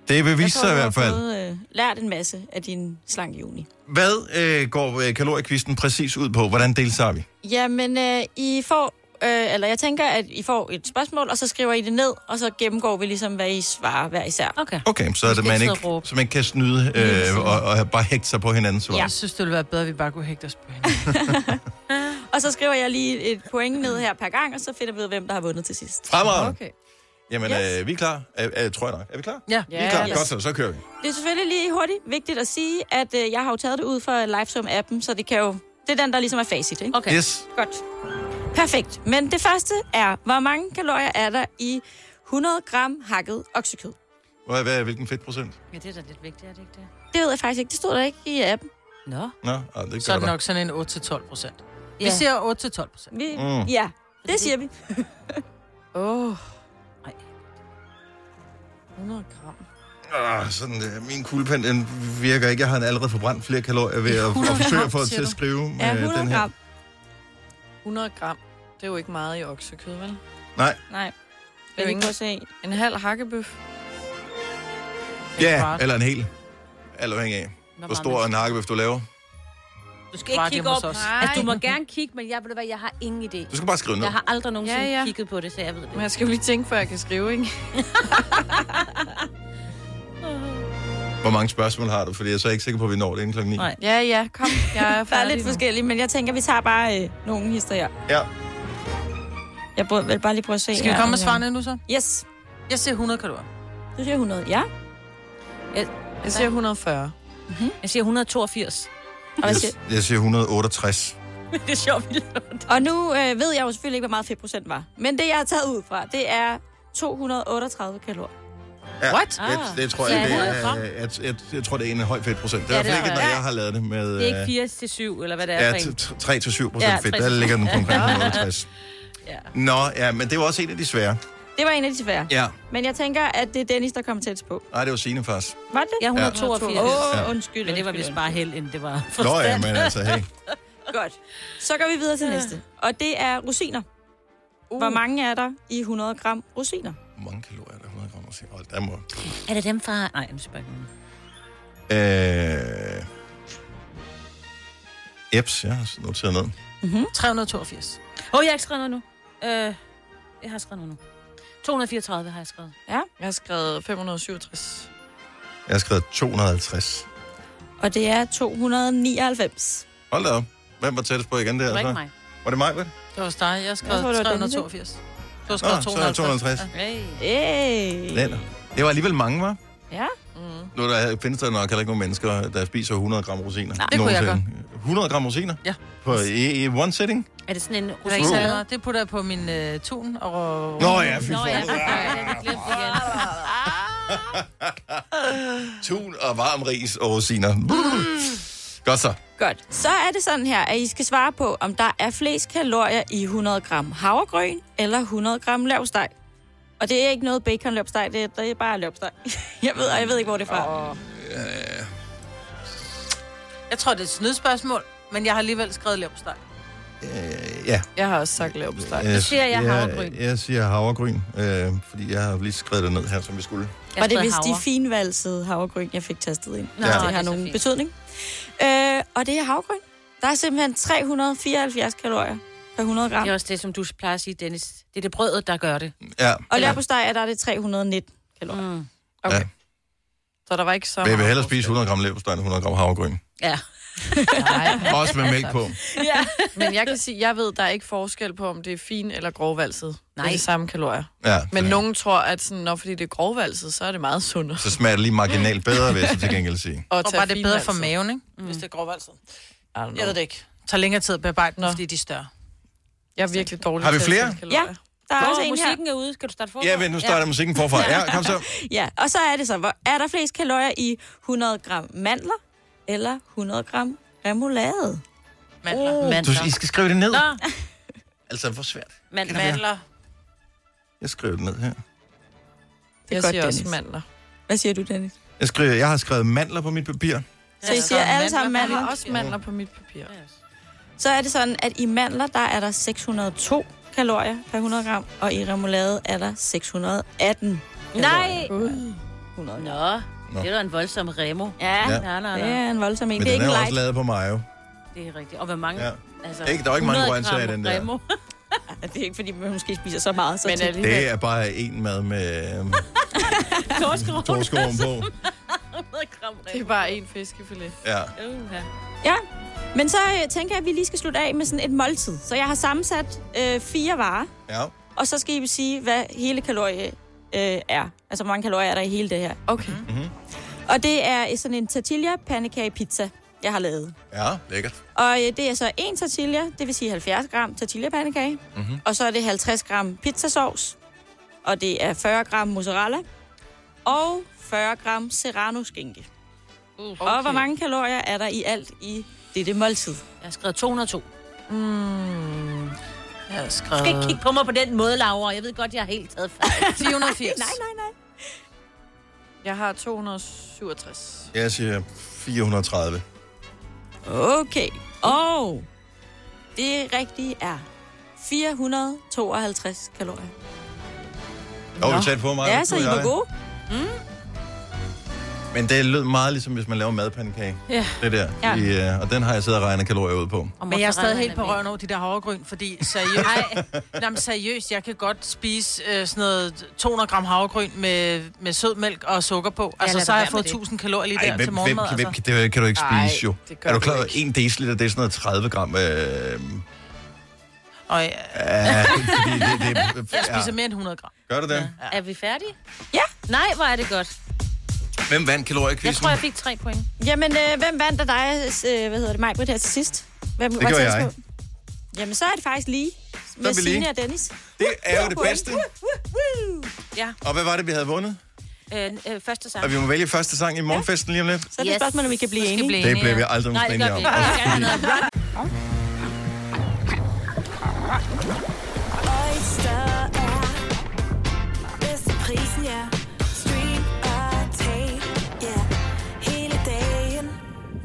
A: Det vil
H: Jeg
A: vise
H: tror,
A: sig i
H: du har
A: hvert fald.
H: Fået, øh, lært en masse af din slank juni.
A: Hvad øh, går øh, kaloriekvisten præcis ud på? Hvordan deltager vi?
H: Jamen, øh, I får, øh, eller jeg tænker, at I får et spørgsmål, og så skriver I det ned, og så gennemgår vi ligesom, hvad I svarer hver især.
C: Okay.
A: Okay, så at
C: skal
A: man
C: ikke
A: ikke,
C: sidde og råbe.
A: så man ikke kan snyde øh, og, og, bare hægte sig på hinanden. Så.
H: Ja.
I: Jeg synes, det ville være bedre, at vi bare kunne hægte os på hende.
H: Og så skriver jeg lige et point ned her per gang, og så finder vi ud af, hvem der har vundet til sidst.
A: Fremad!
E: Okay.
A: Jamen,
H: Yes.
A: øh, vi er klar. Øh, øh, tror jeg nok. Er vi klar?
I: Ja.
A: Vi er klar.
H: Yes.
A: Godt så, så kører vi.
H: Det er selvfølgelig lige hurtigt vigtigt at sige, at øh, jeg har jo taget det ud fra Lifesum-appen, så det kan jo... Det er den, der ligesom er facit, ikke?
C: Okay.
A: Yes.
H: Godt. Perfekt. Men det første er, hvor mange kalorier er der i 100 gram hakket oksekød?
A: Hvad, hvad, hvilken fedtprocent?
C: Ja, det er da lidt vigtigt, er det ikke det?
H: Det ved jeg faktisk ikke. Det stod der ikke i appen.
C: Nå.
A: Nå, ah, det gør
B: Så er det
A: der.
B: nok sådan en 8-12 procent.
C: Ja.
B: Vi siger 8-12 procent.
H: Vi,
A: Mm.
H: mm. Ja, det siger vi.
E: Åh. Oh.
C: Ej.
E: 100 gram.
A: Ah, sådan, øh, min kuglepen den virker ikke. Jeg har allerede forbrændt flere kalorier ved at, at
I: 100
A: forsøge
I: gram,
A: at få
I: siger
A: til at
I: du?
A: skrive med
H: Ja,
A: Øh, den
H: 100
A: her.
H: gram.
E: 100 gram. Det er jo ikke meget i oksekød, vel?
A: Nej,
H: Nej.
E: Det er jo
H: Vil
E: ikke
H: du prøve at se?
E: en halv hakkebøf.
A: ja,
B: kvart.
A: eller en hel. Alt afhængig af, hvor stor en hakkebøf du laver.
C: Du skal ikke
B: Bare
C: kigge
B: hjemme
C: op.
B: hos os.
C: Altså, du må gerne kigge, men jeg ved du hvad, jeg har ingen idé.
A: Du skal bare skrive ned.
C: Jeg har aldrig nogensinde
E: Ja, ja.
C: kigget på det, så jeg ved det.
E: Men jeg skal jo lige tænke, før jeg kan skrive, ikke?
A: Hvor mange spørgsmål har du? Fordi jeg er så ikke sikker på, at vi når det inden klokken 9.
C: Nej.
E: Ja, ja, kom. Jeg er
H: Der er
E: færdig
H: lidt
E: nu.
H: forskellige, men jeg tænker, vi tager bare øh, nogle historier.
A: Ja.
H: Jeg prøver, vil bare lige prøve at se.
B: Skal vi
H: her,
B: komme med
H: om jeg-
B: svarene nu så?
H: Yes.
B: Jeg siger 100 kalorier.
H: Du siger 100, ja.
E: Jeg siger 140.
C: Jeg siger
H: (laughs)
C: 182.
H: Og, hvad
A: Jeg,
H: siger?
A: jeg siger 168.
C: det er sjovt, vi
H: og nu øh, ved jeg jo selvfølgelig ikke, hvor meget fedtprocent var. Men det, jeg har taget ud fra, det er 238 kalorier.
A: Ja,
B: What?
A: Det, det tror jeg,
C: Ja,
A: det er, øh,
C: 100 Ah. gram.
A: jeg, jeg, jeg, jeg tror, det er en høj fedtprocent. Det er i
C: Ja,
A: hvert fald
C: det
A: ikke,
C: tror
A: når
C: jeg.
A: jeg har lavet det med... øh,
C: Det er ikke 4 til 7, eller hvad det er
A: Ja,
C: for en.
A: 3-7 procent
C: Ja,
A: fedt.
C: 3
A: Der
C: til syv.
A: ligger den på omkring
C: Ja.
A: 150.
C: Ja.
A: Nå, ja, men det var også en af de svære.
H: Det var en af de svære.
A: Ja.
H: Men jeg tænker, at det er Dennis, der kommer tæt på.
A: Nej, det var Signe faktisk.
H: Var det?
C: Jeg er 182.
H: Åh, oh,
A: Ja.
H: ja. undskyld.
C: Men det var
H: undskyld,
C: vist bare held, end det var
A: Nå ja,
C: forstand.
A: men altså, hey.
H: undskyld. Godt. Så går vi videre til næste. Og det er rosiner. Uh. Hvor mange er der i 100 gram rosiner?
A: Hvor mange kalorier er der? 100 gram? rosiner? Hold da, mor.
C: Er det dem fra... Nej, nu spørger jeg ikke.
A: Øh... Eps, jeg har noteret ned.
B: 382.
C: Åh, oh, jeg har ikke skrevet noget nu. Øh, jeg har skrevet noget nu. 234 har jeg skrevet.
E: Jeg har skrevet 567.
A: Jeg har skrevet 250.
H: Og det er 299.
A: Hold da op. Hvem var tættest på igen der?
C: Det var ikke
A: så?
C: mig.
A: Var det mig, vel?
B: Det var også dig. Jeg skrev
H: Jeg tror, det var Dennis,
B: 382. Du
A: Nå,
B: har skrevet
A: så er det 250.
B: 250.
C: Hey.
H: Hey.
A: Den. Det var alligevel mange, var?
H: Ja.
A: Nu er der, findes der nok heller ikke nogen mennesker, der spiser 100 gram rosiner. Nej,
B: det kunne jeg
A: 100 gram rosiner?
B: Ja.
A: På, i, i one sitting?
C: Er det sådan en
B: Det er ikke særlig
C: rosinsalade?
B: meget. Det putter jeg på min øh, tun og...
A: Nå ja, fy
C: Nå
A: for.
C: (laughs) ja, jeg har glemt det igen.
A: Tun og varm ris og rosiner. Godt så.
H: Godt. Så er det sådan her, at I skal svare på, om der er flest kalorier i 100 gram havregryn eller 100 gram lavsteg. Og det er ikke noget bacon løbsteg, det, er- det er bare løbsteg. (laughs) Jeg ved, og jeg ved ikke, hvor det er fra. Oh.
B: Jeg tror, det er et snydspørgsmål, men jeg har alligevel skrevet lavsteg.
A: Øh, ja.
E: Jeg har også sagt lav på steg.
A: Øh,
C: siger jeg havregryn.
A: Jeg, jeg siger havregryn, øh, fordi jeg har lige skrevet det ned her, som vi skulle.
C: Jeg
H: Og det er
C: skrev
H: vist de
C: havre.
H: finvalsede havregryn, jeg fik tastet ind.
C: Nå,
A: Ja.
H: det har
C: så
H: nogen
C: fint.
H: betydning. Øh, og det er havregryn. Der er simpelthen 374 kalorier per 100 gram.
C: Det er også det, som du plejer at sige, Dennis. Det er det brødet, der gør det.
A: Ja.
H: Og lærpostej er der er det 319 kalorier.
C: Mm.
A: ja.
E: Okay. Så der var ikke så
A: Men jeg vil
E: meget
A: hellere spise 100 gram leverpostej end 100 gram havregryn.
C: Ja.
E: Nej,
A: Også med mælk på.
C: ja.
E: men jeg kan sige, jeg ved, der er ikke forskel på, om det er fin eller grovvalset. Det er
C: Nej.
E: de samme kalorier.
A: Ja,
E: Men
A: så-
E: nogen tror, at sådan, når fordi det er grovvalset, så er det meget sundere.
A: Så smager det lige marginalt bedre, vil jeg så til gengæld sige.
E: Og
B: Og bare det er bedre for maven, ikke? Hvis det er grovvalset. Mm. Jeg ved det ikke. Det tager længere tid at bearbejde den, fordi de er større.
E: Jeg er virkelig dårlig
A: Har vi
E: til at
A: flere?
E: tælle kalorier.
H: Ja, der er også
C: Hvor
H: en her.
C: musikken er ude, skal du starte forfra?
A: Ja, men nu starter musikken forfra. Ja, kom så.
H: Ja, og så er det så, hvor er der flest kalorier i 100 gram mandler eller 100 gram remoulade?
B: Mandler.
A: Du,
C: Mandler.
A: I skal skrive det ned.
C: Nå,
A: Altså, hvor svært.
C: mandler.
B: Mandler.
A: Jeg skriver det ned her.
H: er
E: Jeg
H: godt,
E: siger også
H: Dennis.
E: mandler.
H: Hvad siger du, Dennis?
A: Jeg, skriver, jeg har skrevet mandler på mit papir.
H: Så I siger alle sammen
E: Jeg
H: mandler.
E: har også mandler på mit papir.
H: Så er det sådan, at i mandler, der er der 602 kalorier per 100 gram, og i remoulade er der 618
C: Nej!
H: kalorier. 100 gram.
C: Nå, det er da en voldsom remo.
H: Ja,
A: Ja.
C: Nej, nej,
H: det
C: nej.
H: er en voldsom en.
A: Men
H: Det er
A: den
H: ikke
A: er
H: en
A: jo
H: light.
A: også lavet på mayo.
C: Det er rigtigt. Og hvor mange...
A: Ja.
C: Altså,
A: Ikke- der er ikke mange
C: 100
A: grøntsager i
C: gram
A: den der.
C: Remo. (laughs)
H: Det er ikke, fordi man måske spiser så meget. Så
E: Men
H: tit.
E: er det,
A: Det er bare en mad med (laughs) øhm,
C: Torskerov.
A: torskoven på.
C: 100 gram
E: det er
C: Remo.
E: bare en fiskefilet.
A: Ja.
C: Uha.
H: Ja, men så øh, tænker jeg, at vi lige skal slutte af med sådan et måltid. Så jeg har sammensat øh, fire varer,
A: ja.
H: og så skal I sige, hvad hele kalorie øh, er. Altså, hvor mange kalorier er der i hele det her. Mhm.
E: Okay.
H: Og det er sådan en tortilla pandekage pizza, jeg har lavet.
A: Ja, lækkert.
H: Og øh, det er så en tortilla, det vil sige 70 gram tortilla pandekage. Mm-hmm. Og så er det 50 gram pizzasauce. Og det er 40 gram mozzarella. Og 40 gram serrano skinke. Okay. Og hvor mange kalorier er der i alt i dette måltid?
C: Jeg har skrevet 202. Mm.
B: Jeg har
C: Du
B: skrevet...
C: skal ikke kigge på mig på den måde, Laura. Jeg ved godt, jeg har helt taget (laughs) fejl.
B: 480.
E: (laughs)
H: Nej, nej, nej.
E: Jeg har 267.
A: Jeg siger 430.
H: Okay. Og det rigtige er 452 kalorier.
A: Jo, du tæt på mig.
H: Ja, så I var gode.
A: Men det lød meget ligesom, hvis man laver madpandekage.
I: Ja.
A: Det der.
H: Ja.
A: I, øh, og den har jeg siddet og regnet kalorier ud på.
B: Men jeg er stadig helt på røven over de der havregryn, fordi seriøst, (laughs) nej, men seriøst jeg kan godt spise øh, sådan noget 200 gram havregryn med, med sød mælk og sukker på. Altså,
C: lad
B: så har
C: være
B: jeg
C: med
B: fået
C: det.
B: 1000 kalorier lige
A: Ej,
B: der
A: hvem,
B: til
A: hvem,
B: morgenmad.
A: kan, hvem
B: Altså.
A: kan, det kan du ikke spise,
E: Ej,
A: jo.
E: det gør
A: Er du klar
E: du
A: over,
E: ikke.
A: 1 deciliter, det er sådan noget 30 gram. Øh,
B: Og jeg,
A: ja, fordi det, det,
B: jeg spiser
A: ja.
B: mere end 100 gram.
A: Gør du det?
C: Er vi færdige?
H: Ja.
C: Nej, hvor er det godt.
A: Hvem vandt
C: Jeg
A: kaloriequizzen?
C: tror, jeg fik tre point.
H: Jamen, øh, hvem vandt af dig, øh, hvad hedder det, mig, her til sidst? Hvem,
A: Det gjorde jeg.
H: Jamen, så er det faktisk lige
A: er
H: med
A: vi lige.
H: Signe og Dennis.
A: Det er jo det bedste.
C: Ja.
A: Og hvad var det, vi havde vundet?
C: Øh, øh, første sang.
A: Og vi må vælge første sang i morgenfesten lige om lidt.
H: Så er det yes.
C: Yes.
H: spørgsmål, om vi kan blive
C: Vi skal
H: enige.
C: blive
A: Det
C: enige.
A: blev vi aldrig
C: Nej, det
A: nogensinde
C: gør
A: enige
C: vi
A: om.
C: ikke. Vi skal have noget rock.
J: Oyster er bedst til prisen, ja. Stream og tag, ja. Hele dagen.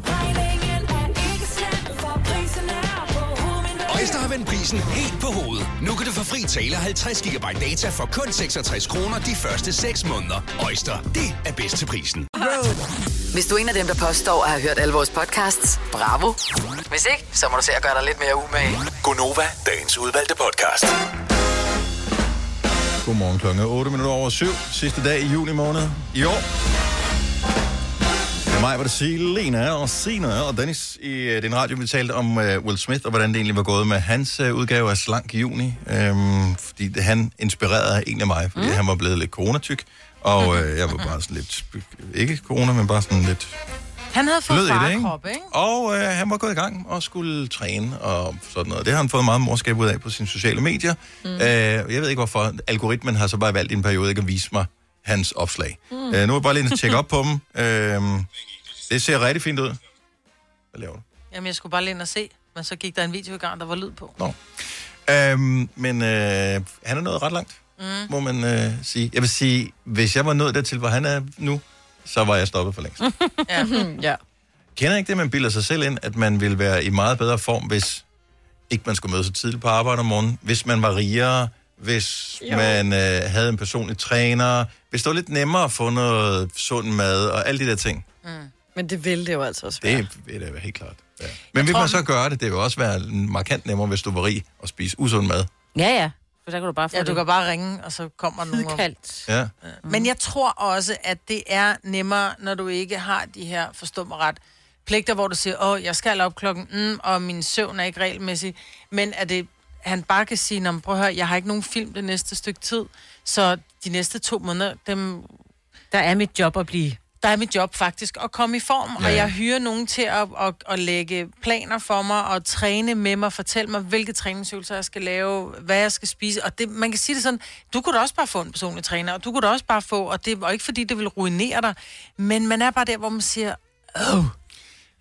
J: Regningen er ikke slem, for prisen er på
K: Øjster har vendt prisen helt på hovedet. Nu kan du få fri tale 50 GB data for kun 66 kroner de første 6 måneder. Øjster, det er bedst til prisen.
G: Hvis du er en af dem, der påstår at have hørt alle vores podcasts, bravo. Hvis ikke, så må du se at gøre dig lidt mere umage.
K: Gonova, dagens udvalgte podcast.
A: Godmorgen klokken er 8 minutter over 7. Sidste dag i juni måned i år. Med mig var det Selena og Sina og Dennis i øh, din radio. Vi talte om øh, Will Smith og hvordan det egentlig var gået med hans øh, udgave af Slank i juni. Øhm, fordi det, han inspirerede egentlig mig, fordi mm. han var blevet lidt coronatyk. Og øh, jeg var bare sådan lidt, ikke corona, men bare sådan lidt
B: Han havde
A: lød
B: fået
A: i det, ikke?
B: farkrop, ikke?
A: Og øh, han var gået i gang og skulle træne og sådan noget. Det har han fået meget morskab ud af på sine sociale medier. Mm. Øh, jeg ved ikke hvorfor. Algoritmen har så bare valgt i en periode ikke at vise mig hans opslag. Mm. Øh, nu er jeg bare lige at tjekke op på dem. Øh, det ser rigtig fint ud. Hvad laver du?
B: Jamen, jeg skulle bare lige ind og se, men så gik der en video i gang, der var lyd på.
A: Nå. Øhm, men øh, han er nået ret langt, mm. må man øh, sige. Jeg vil sige, hvis jeg var nået dertil, hvor han er nu, så var jeg stoppet for længst.
B: Ja.
E: Ja.
A: Kender ikke det, man bilder sig selv ind, at man ville være i meget bedre form, hvis ikke man skulle møde så tidligt på arbejde om morgenen, hvis man var rigere, hvis jo. man øh, havde en personlig træner, hvis det var lidt nemmere at få noget sund mad og alle de der ting.
E: Men det vil det jo altså også
A: Det
E: være.
A: vil da være helt klart. Ja. Men vi må så gøre det. Det vil også være markant nemmere, hvis du var rig og spise usund mad.
C: Ja, ja. For så kan du bare få
B: ja, du
C: det
B: kan bare ringe, og så kommer der nogen. og-
C: udkaldt.
A: Ja.
B: Mm. Men jeg tror også, at det er nemmere, når du ikke har de her, forstå mig ret, pligter, hvor du siger, åh, jeg skal op klokken, mm, og min søvn er ikke regelmæssig. Men at det, han bare kan sige, "Nå, men prøv at høre, jeg har ikke nogen film det næste stykke tid, så de næste to måneder, dem,
C: Der er mit job at blive.
B: der er mit job faktisk at komme i form, ja. og jeg hyrer nogen til at, at, at lægge planer for mig, og træne med mig, fortælle mig, hvilke træningsøvelser jeg skal lave, hvad jeg skal spise, og det, man kan sige det sådan, du kunne da også bare få en personlig træner, og du kunne da også bare få, og det var ikke fordi, det vil ruinere dig, men man er bare der, hvor man siger,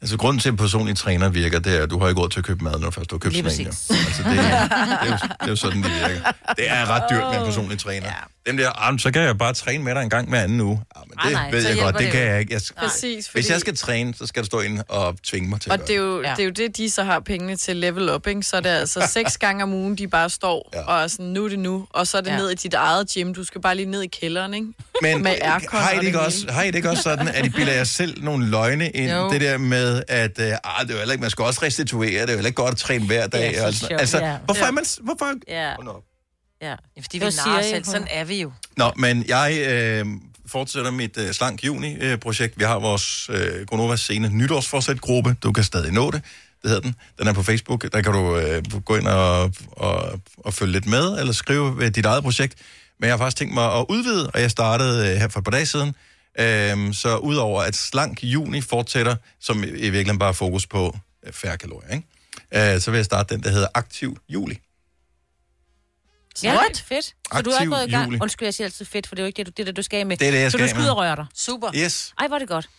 A: Altså, grunden til, at personlige træner virker, det er, at du har ikke råd til at købe mad, når du først har købt
C: Lige
A: sådan en. jo.
C: præcis.
E: (laughs)
A: Altså, det, er, det, er jo, det er jo sådan, det virker. Det er ret dyrt med en personlig træner. Ja. Dem der, ah, men så kan jeg bare træne med dig en gang hver anden uge. Ah, men
E: Ah,
A: det
E: nej,
A: ved
E: så
A: jeg
E: hjælper
A: godt, det,
E: det
A: kan
E: jo.
A: jeg ikke. Jeg, skal-
E: Nej. Præcis,
A: Hvis
E: fordi-
A: jeg skal træne, så skal du stå ind og tvinge mig til
E: Og
A: at
E: det er,
A: gøre
E: jo, ja. det er jo det, de så har pengene til level up, ikke? Så er det altså seks gange om ugen, de bare står ja. og er sådan, nu er det nu. Og så er det
A: Ja.
E: ja. ned i dit eget gym. Du skal bare lige ned i kælderen, ikke?
A: Men
E: Med aircon
A: har I
E: og
A: det ikke
E: hele.
A: også, har I det ikke også sådan, at I bilder jer selv nogle løgne ind?
E: Jo.
A: Det der med, at øh, ah, det er jo heller ikke, man skal også restituere, det er jo heller ikke godt at træne hver dag.
B: Det er så
A: og sådan-
B: sjovt,
A: altså,
B: ja.
A: hvorfor er man... s- Hvorfor?
C: Ja. Ja.
B: Fordi vi
C: Det siger
B: narrer os
C: jeg,
B: selv.
C: hun-
B: Sådan er vi jo.
A: Nå, men jeg øh, fortsætter mit øh, Slank Juni-projekt. Vi har vores øh, Gronovas sene nytårsforsæt-gruppe. Du kan stadig nå det. Det hedder den. Den er på Facebook. Der kan du øh, gå ind og, og, og følge lidt med, eller skrive ved dit eget projekt. Men jeg har faktisk tænkt mig at udvide, og jeg startede øh, her for et par dage siden. Øh, så udover at Slank Juni fortsætter, som i i virkeligheden bare er fokus på øh, færre kalorier, ikke? Øh, så vil jeg starte den, der hedder Aktiv Juli.
C: Ja,
A: What?
C: fedt. Så du er
A: Aktiv
C: gået i gang.
A: juli.
C: Undskyld, jeg siger altid fedt, for det er jo ikke det, du, det, er det, du skal af med.
A: Det er det, jeg
C: så
A: skal
C: du
A: af
C: skal
A: med.
C: ud og røre dig.
B: Super.
A: Yes.
C: Ej, hvor er det godt.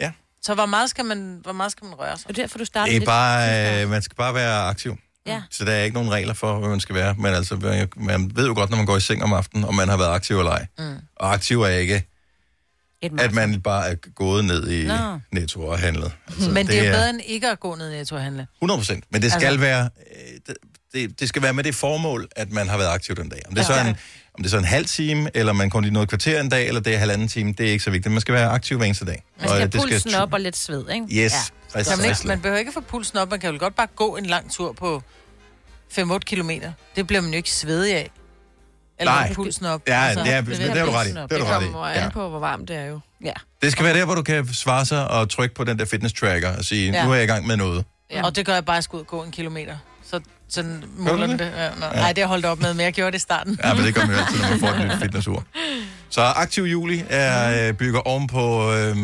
A: Ja.
B: Så hvor meget skal man, hvor meget skal man røre sig?
C: Det er derfor, du starter
A: Det er bare, øh, man skal bare være aktiv.
C: Ja.
A: Så der er ikke nogen regler for, hvad man skal være. Men altså, man- man ved jo godt, når man går i seng om aftenen, om man har været aktiv eller ej.
C: Mm.
A: Og aktiv er ikke,
C: Et
A: at man bare er gået ned i
B: Mm. Nå.
A: netto og handlet.
B: Altså, Men det, er jo bedre end ikke at gå ned i netto og handle.
A: 100 procent. Men det skal
B: Altså-
A: altså... være... øh, det- Det, det, skal være med det formål, at man har været aktiv den dag. Om det, er så en, om det er så en halv time, eller man kun lige noget kvarter en dag, eller det er halvanden time, det er ikke så vigtigt. Man skal være aktiv hver eneste dag.
C: Man skal have
A: øh, det
C: pulsen op og lidt sved, ikke?
A: Yes. Præcis.
B: Så man, ikke, man behøver ikke få pulsen op. Man kan jo godt bare gå en lang tur på 5-8 kilometer. Det bliver man jo ikke svedig af. Eller
A: Nej.
B: Nej. pulsen op. Altså,
A: Ja, det er- det har du ret i. Det har du ret i.
E: Det kommer
A: Ja.
E: an på, hvor varmt det er jo.
C: Ja.
A: Det skal være der, hvor du kan svare sig og trykke på den der fitness tracker og sige, ja.
B: Ja.
A: nu er jeg i gang med noget.
B: Ja. Og det gør jeg bare, at jeg skal ud og gå en kilometer. Så sådan
A: Gør
B: måler
A: du det?
B: den det. Ja, nej.
A: Ja.
B: nej, det har jeg holdt op med, men jeg gjorde det i starten. (laughs)
A: Ja, men det gør man jo altid, når man får et nyt fitnessur. Så aktiv juli er, øh, bygger ovenpå øh,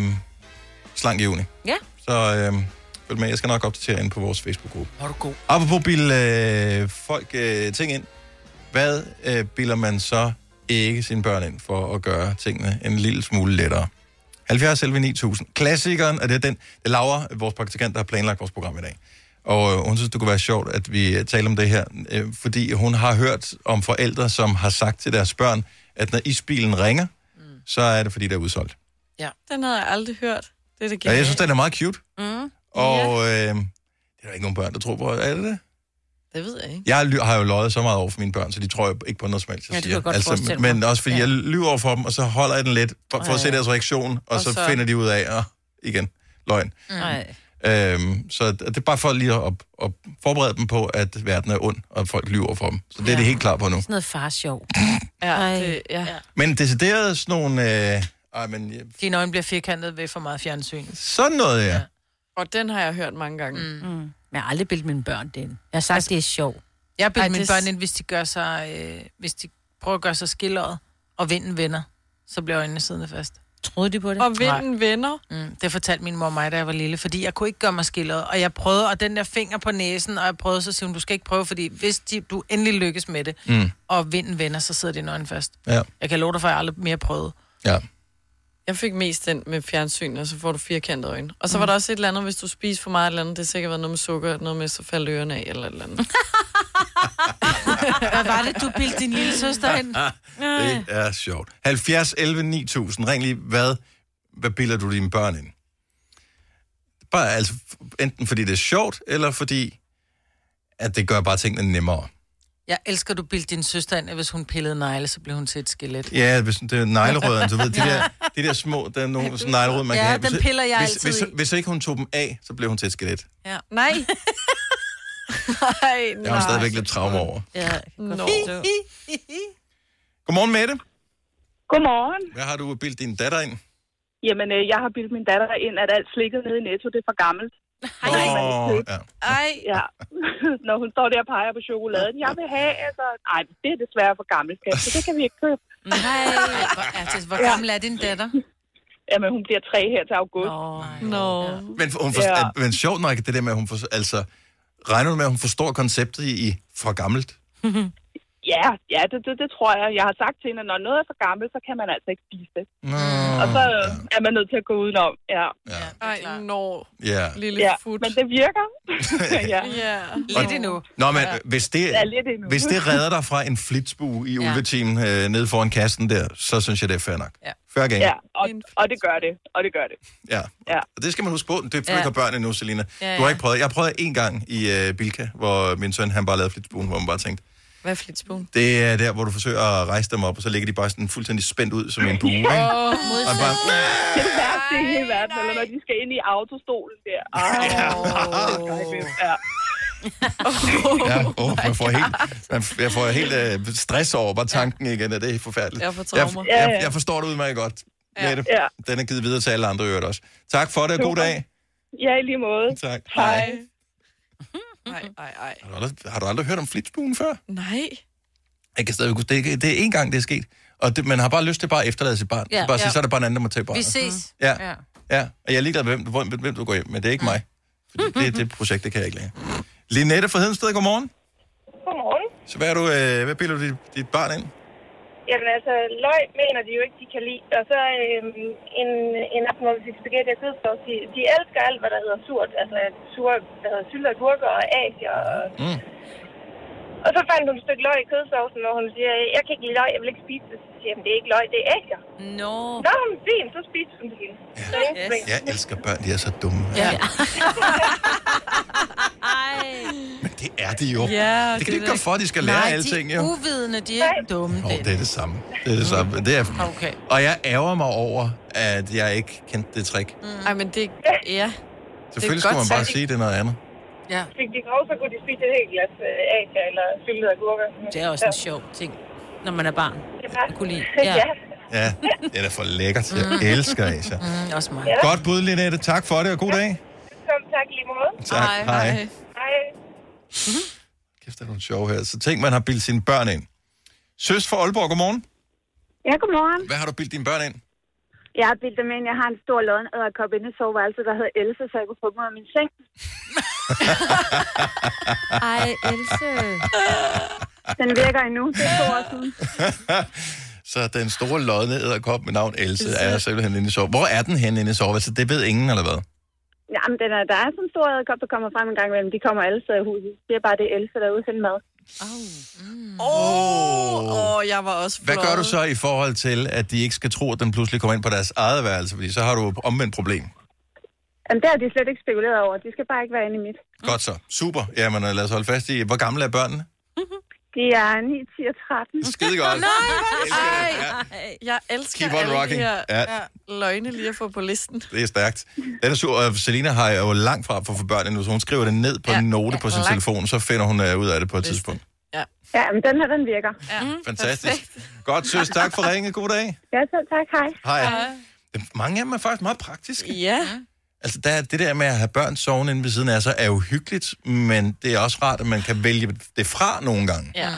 A: slank juni.
C: Ja.
A: Så øh, følg med, jeg skal nok opdatere ind på vores Facebook-gruppe.
B: Var du god.
A: Apropos bil, øh, folk øh, ting ind. Hvad øh, bilder man så ikke sine børn ind for at gøre tingene en lille smule lettere? 70 11 9000. Klassikeren, og det er den, det er Laura, vores praktikant, der har planlagt vores program i dag. Og øh, hun synes, det kunne være sjovt, at vi øh, taler om det her, øh, fordi hun har hørt om forældre, som har sagt til deres børn, at når isbilen ringer, mm. så er det, fordi der er udsolgt.
E: Ja. Den havde jeg aldrig hørt. Det er det
A: Ja, jeg synes, den er meget cute.
E: Mm.
A: Og øh, det er der ikke nogen børn, der tror på. Er det det?
E: Det ved jeg ikke.
A: Jeg ly- har jo løjet så meget over for mine børn, så de tror jo ikke på noget som helst, jeg
E: Ja, det kan
A: siger. Altså,
E: jeg godt forestille mig.
A: men også fordi ja. jeg lyver over for dem, og så holder jeg den lidt, for, for at se
E: Ja.
A: deres reaktion, og, og
E: Og
A: så, så
E: så-
A: finder de ud af, at igen, løgn.
C: Nej.
A: Øhm, så det det er bare for lige at, at forberede dem på, at verden er ond, og at folk lyver for dem. Så det ja. er
C: Ja.
A: det helt klar på nu.
C: Sådan noget farsjov.
E: Ja, det, ja.
A: Men decideret sådan nogle... Øh, ej, men, ja,
B: Dine øjne bliver firkantet ved for meget fjernsyn.
A: sådan noget, ja. ja.
E: Og den har jeg hørt mange gange.
B: Mm.
C: Mm. Jeg har aldrig bildt mine børn det ind. Jeg har sagt, altså, det er sjovt.
B: Jeg
C: Ej,
B: bilder mine
C: det-
B: børn ind, hvis de, gør sig, øh, hvis de prøver at gøre sig skilleret, og vinden vender, så bliver øjnene siddende fast.
C: Troede de på det?
E: Og vinden vender.
B: Mm, det fortalte min mor og mig, da jeg var lille, fordi jeg kunne ikke gøre mig skilleret. Og jeg prøvede, og den der finger på næsen, og jeg prøvede, så siger hun, du skal ikke prøve, fordi hvis de, du endelig lykkes med det,
A: Mm.
B: og vinden vender, så sidder dine øjne fast.
A: Ja.
B: Jeg kan love dig for, at jeg aldrig mere prøvede.
A: ja.
E: Jeg fik mest den med fjernsyn, og så får du firkantede øjne. Og så var der også et eller andet, hvis du spiser for meget et eller andet, det har sikkert været noget med sukker, noget med, så faldt ørerne af eller et eller (laughs) andet.
B: Hvad var det, du bildte din lille søster ind?
A: Det er sjovt. 70, 11, 9000. Ring lige, hvad, hvad bilder du dine børn ind? Bare altså, enten fordi det er sjovt, eller fordi, at det gør bare tingene nemmere.
B: Jeg elsker, at du bildte din søster ind, at hvis hun pillede negle, så blev hun til et skelet.
A: Ja, hvis det er neglerødderne, du ved, de der, de der små, der er nogle sådan neglerød, man
B: Ja,
A: kan have.
B: dem piller jeg
A: hvis,
B: altid
A: hvis,
B: i.
A: hvis, hvis ikke hun tog dem af, så blev hun til et skelet.
B: Ja.
E: Nej. nej,
A: Det har hun stadigvæk lidt traume over.
C: Ja,
E: Nå.
A: Godmorgen, Mette.
L: Godmorgen.
A: Hvad har du bildt din datter ind?
L: Jamen, øh, jeg har bildt min datter ind, at alt slikket nede i Netto, det er for gammelt.
A: Åh, ja.
E: Ej.
L: Ja. (laughs) Når hun står der og peger på chokoladen. Jeg vil have, altså... Ej, det er desværre for gammelt, skat, så det kan vi ikke købe.
C: Mm.
B: Nej, hvor, altså, hvor gammel er din datter?
L: Jamen, hun bliver tre her til august.
E: Nå.
A: Men, hun for,
L: Ja.
A: ja. men sjovt nok, det der med, at hun for, altså, regner du med, at hun forstår konceptet i, i for gammelt?
M: Ja, ja det, det, det tror jeg. Jeg har sagt til hende, at når noget er for gammelt, så kan man altså ikke spise det.
A: Nå,
H: Mm.
M: Og så ja. er man nødt til at gå udenom. Ja.
A: ja.
E: Ej, når.
A: Ja.
E: Lille
M: ja.
E: fut.
M: Men det virker. ja.
E: ja.
A: Lidt
N: endnu.
A: Nå, men hvis det,
M: Ja, lidt endnu.
A: hvis det redder dig fra en flitsbue i ulvetimen øh, nede foran kassen der, så synes jeg, det er fair nok.
M: Ja.
A: Fair game.
M: Ja, og, og det gør det. Og det gør det.
A: Ja.
M: Ja.
A: Og det skal man huske på. Det er fordi,
M: Ja.
A: ja. har børn endnu, Selina.
M: Ja,
A: Ja,
M: ja.
A: Du har ikke prøvet. Jeg har prøvet én gang i øh, Bilka, hvor min søn han bare lavede flitsbuen, hvor man bare tænkte,
E: Hvad er flitsbuen?
A: det er der, hvor du forsøger at rejse dem op, og så ligger de bare sådan fuldstændig spændt ud som en bue. Ikke?
E: Åh,
A: Og
E: modsat.
A: bare,
M: Det er det værste i hele verden, eller når de skal ind i autostolen der. Ah, Ej, ja.
A: ja,
M: Oh
A: åh, man får helt, man, jeg får helt øh, stress over bare tanken igen, og det er forfærdeligt.
E: Jeg får
A: jeg,
E: traumer.
A: jeg, jeg forstår det udmærket godt.
E: Ja.
A: Ja. Mette,
M: Ja.
A: den er givet videre til alle andre i øvrigt også. Tak for det, og god
M: Super.
A: dag.
M: ja, i lige måde.
A: Tak.
M: Hej.
E: Ej, ej, ej.
A: Har du aldrig, har du aldrig hørt om flitsbuen før?
E: Nej.
A: Jeg kan stadig, huske- det, er- det er én gang, det er sket. Og det, man har bare lyst til bare at efterlade sit barn.
E: Ja.
A: Ja. Bare sige,
E: Ja.
A: så er der bare en anden, der må tage barnet.
E: Vi ses.
C: mm-hmm.
A: Ja. ja. Og jeg er ligeglad med, hvem, hvor- hvem, hvem du går hjem med. Det er ikke mig. Fordi det, det projekt, det kan jeg ikke længere. Linette fra Hedensted, godmorgen.
O: Godmorgen.
A: Så hvad, er du, øh, hvad piller du dit, dit barn ind?
O: Jamen altså, løg mener de jo ikke, de kan lide. Og så øhm, en, en aften, hvor vi fik spaghetti og kødsovs, de, de elsker alt, hvad der hedder surt. Altså sur, der hedder sylter og gurker og asier. Og,
A: Mm.
O: og så fandt hun et stykke løg i kødsovsen, hvor hun siger, jeg kan ikke lide løg, jeg vil ikke spise det. Så siger jeg, "Men det er ikke løg, det er asier.
C: Nå.
O: Nå, men fint, så spiste hun det hele. Ja. Så, yes.
A: Jeg elsker børn, de er så dumme.
O: Ja.
C: (laughs)
A: Men det er de jo.
B: Ja,
A: det kan
B: det
A: de ikke
B: er
A: gøre for, at de skal lære
B: Nej,
A: alting,
B: de
A: jo.
B: er uvidende, de er ikke dumme.
A: Åh, det er det samme. Det er det samme. Det er...
B: Okay.
A: Og jeg ærger mig over, at jeg ikke kendte det trick.
E: Ej, men det... Ja.
A: Selvfølgelig skulle man bare
E: sagt.
A: sige, det er noget andet.
E: Ja.
O: Fik de grov, så kunne de spise et helt glas øh, asier eller syltede og gurker.
C: Det er også en sjov ting, når man er barn.
O: Jeg
C: kunne
O: (laughs)
C: lide.
O: Ja.
C: Ja.
A: Ja, det er da for lækkert. Jeg elsker Asia.
B: Mm, også mig.
O: Ja.
A: Godt bud, Linette. Tak for det, og god dag.
O: Velkommen, tak i lige måde.
A: Tak. Hej. Hej.
O: Hej.
A: Kæft, der er nogle sjove her. Så tænk, man har bildt sine børn ind. Søs fra Aalborg, godmorgen.
P: Ja, godmorgen.
A: Hvad har du bildt dine børn ind?
P: Jeg har bildt dem ind. Jeg har en stor lodden æderkop inde i soveværelset, der hedder Else, så jeg kunne få dem ud af min seng.
A: Ej,
B: (laughs)
P: Else. Den virker endnu. Det er to år
O: (laughs)
P: siden.
A: Så den store lodne æderkop med navn Else er simpelthen inde i sove. Hvor er den henne inde i soveværelset? Det ved ingen, eller hvad?
P: Jamen, den er, der er sådan en stor æderkop, der kommer frem en gang imellem. De kommer alle steder i huset. Det er bare det er Else, der er ude og finde mad.
A: Åh,
E: oh, jeg var også
A: Hvad gør du så i forhold til, at de ikke skal tro, at den pludselig kommer ind på deres eget værelse? Fordi så har du omvendt problem.
P: Jamen, det har de slet ikke spekuleret over. De skal bare ikke være inde i mit.
A: Godt så. Super. Jamen, øh, lad os holde fast i, hvor gamle er (laughs) børnene?
P: De er 9, 10 og 13.
A: Skide godt.
E: Nej, ej. Jeg elsker
A: Keep on
E: alle
A: rocking.
E: de her
A: Ja.
E: ja. løgne lige at få på listen.
A: Det er stærkt. Den er sur, og Selina har jo langt fra for at få børn endnu, så hun skriver det ned på ja, en note ja, på sin
P: langt.
A: telefon, så finder hun øh, ud af det Mm, på et tidspunkt.
E: Ja.
P: Ja, men den her, den virker.
E: Ja.
A: Fantastisk. Godt, søs. Tak for ringe. God dag.
P: Ja, så tak. Hej.
A: Hej. Det- Mange af dem er faktisk meget praktiske.
E: Ja.
A: Altså, der, er- det der med at have børn sovende inde ved siden af sig, er jo hyggeligt, men det er også rart, at man kan vælge det fra nogle gange.
E: Ja.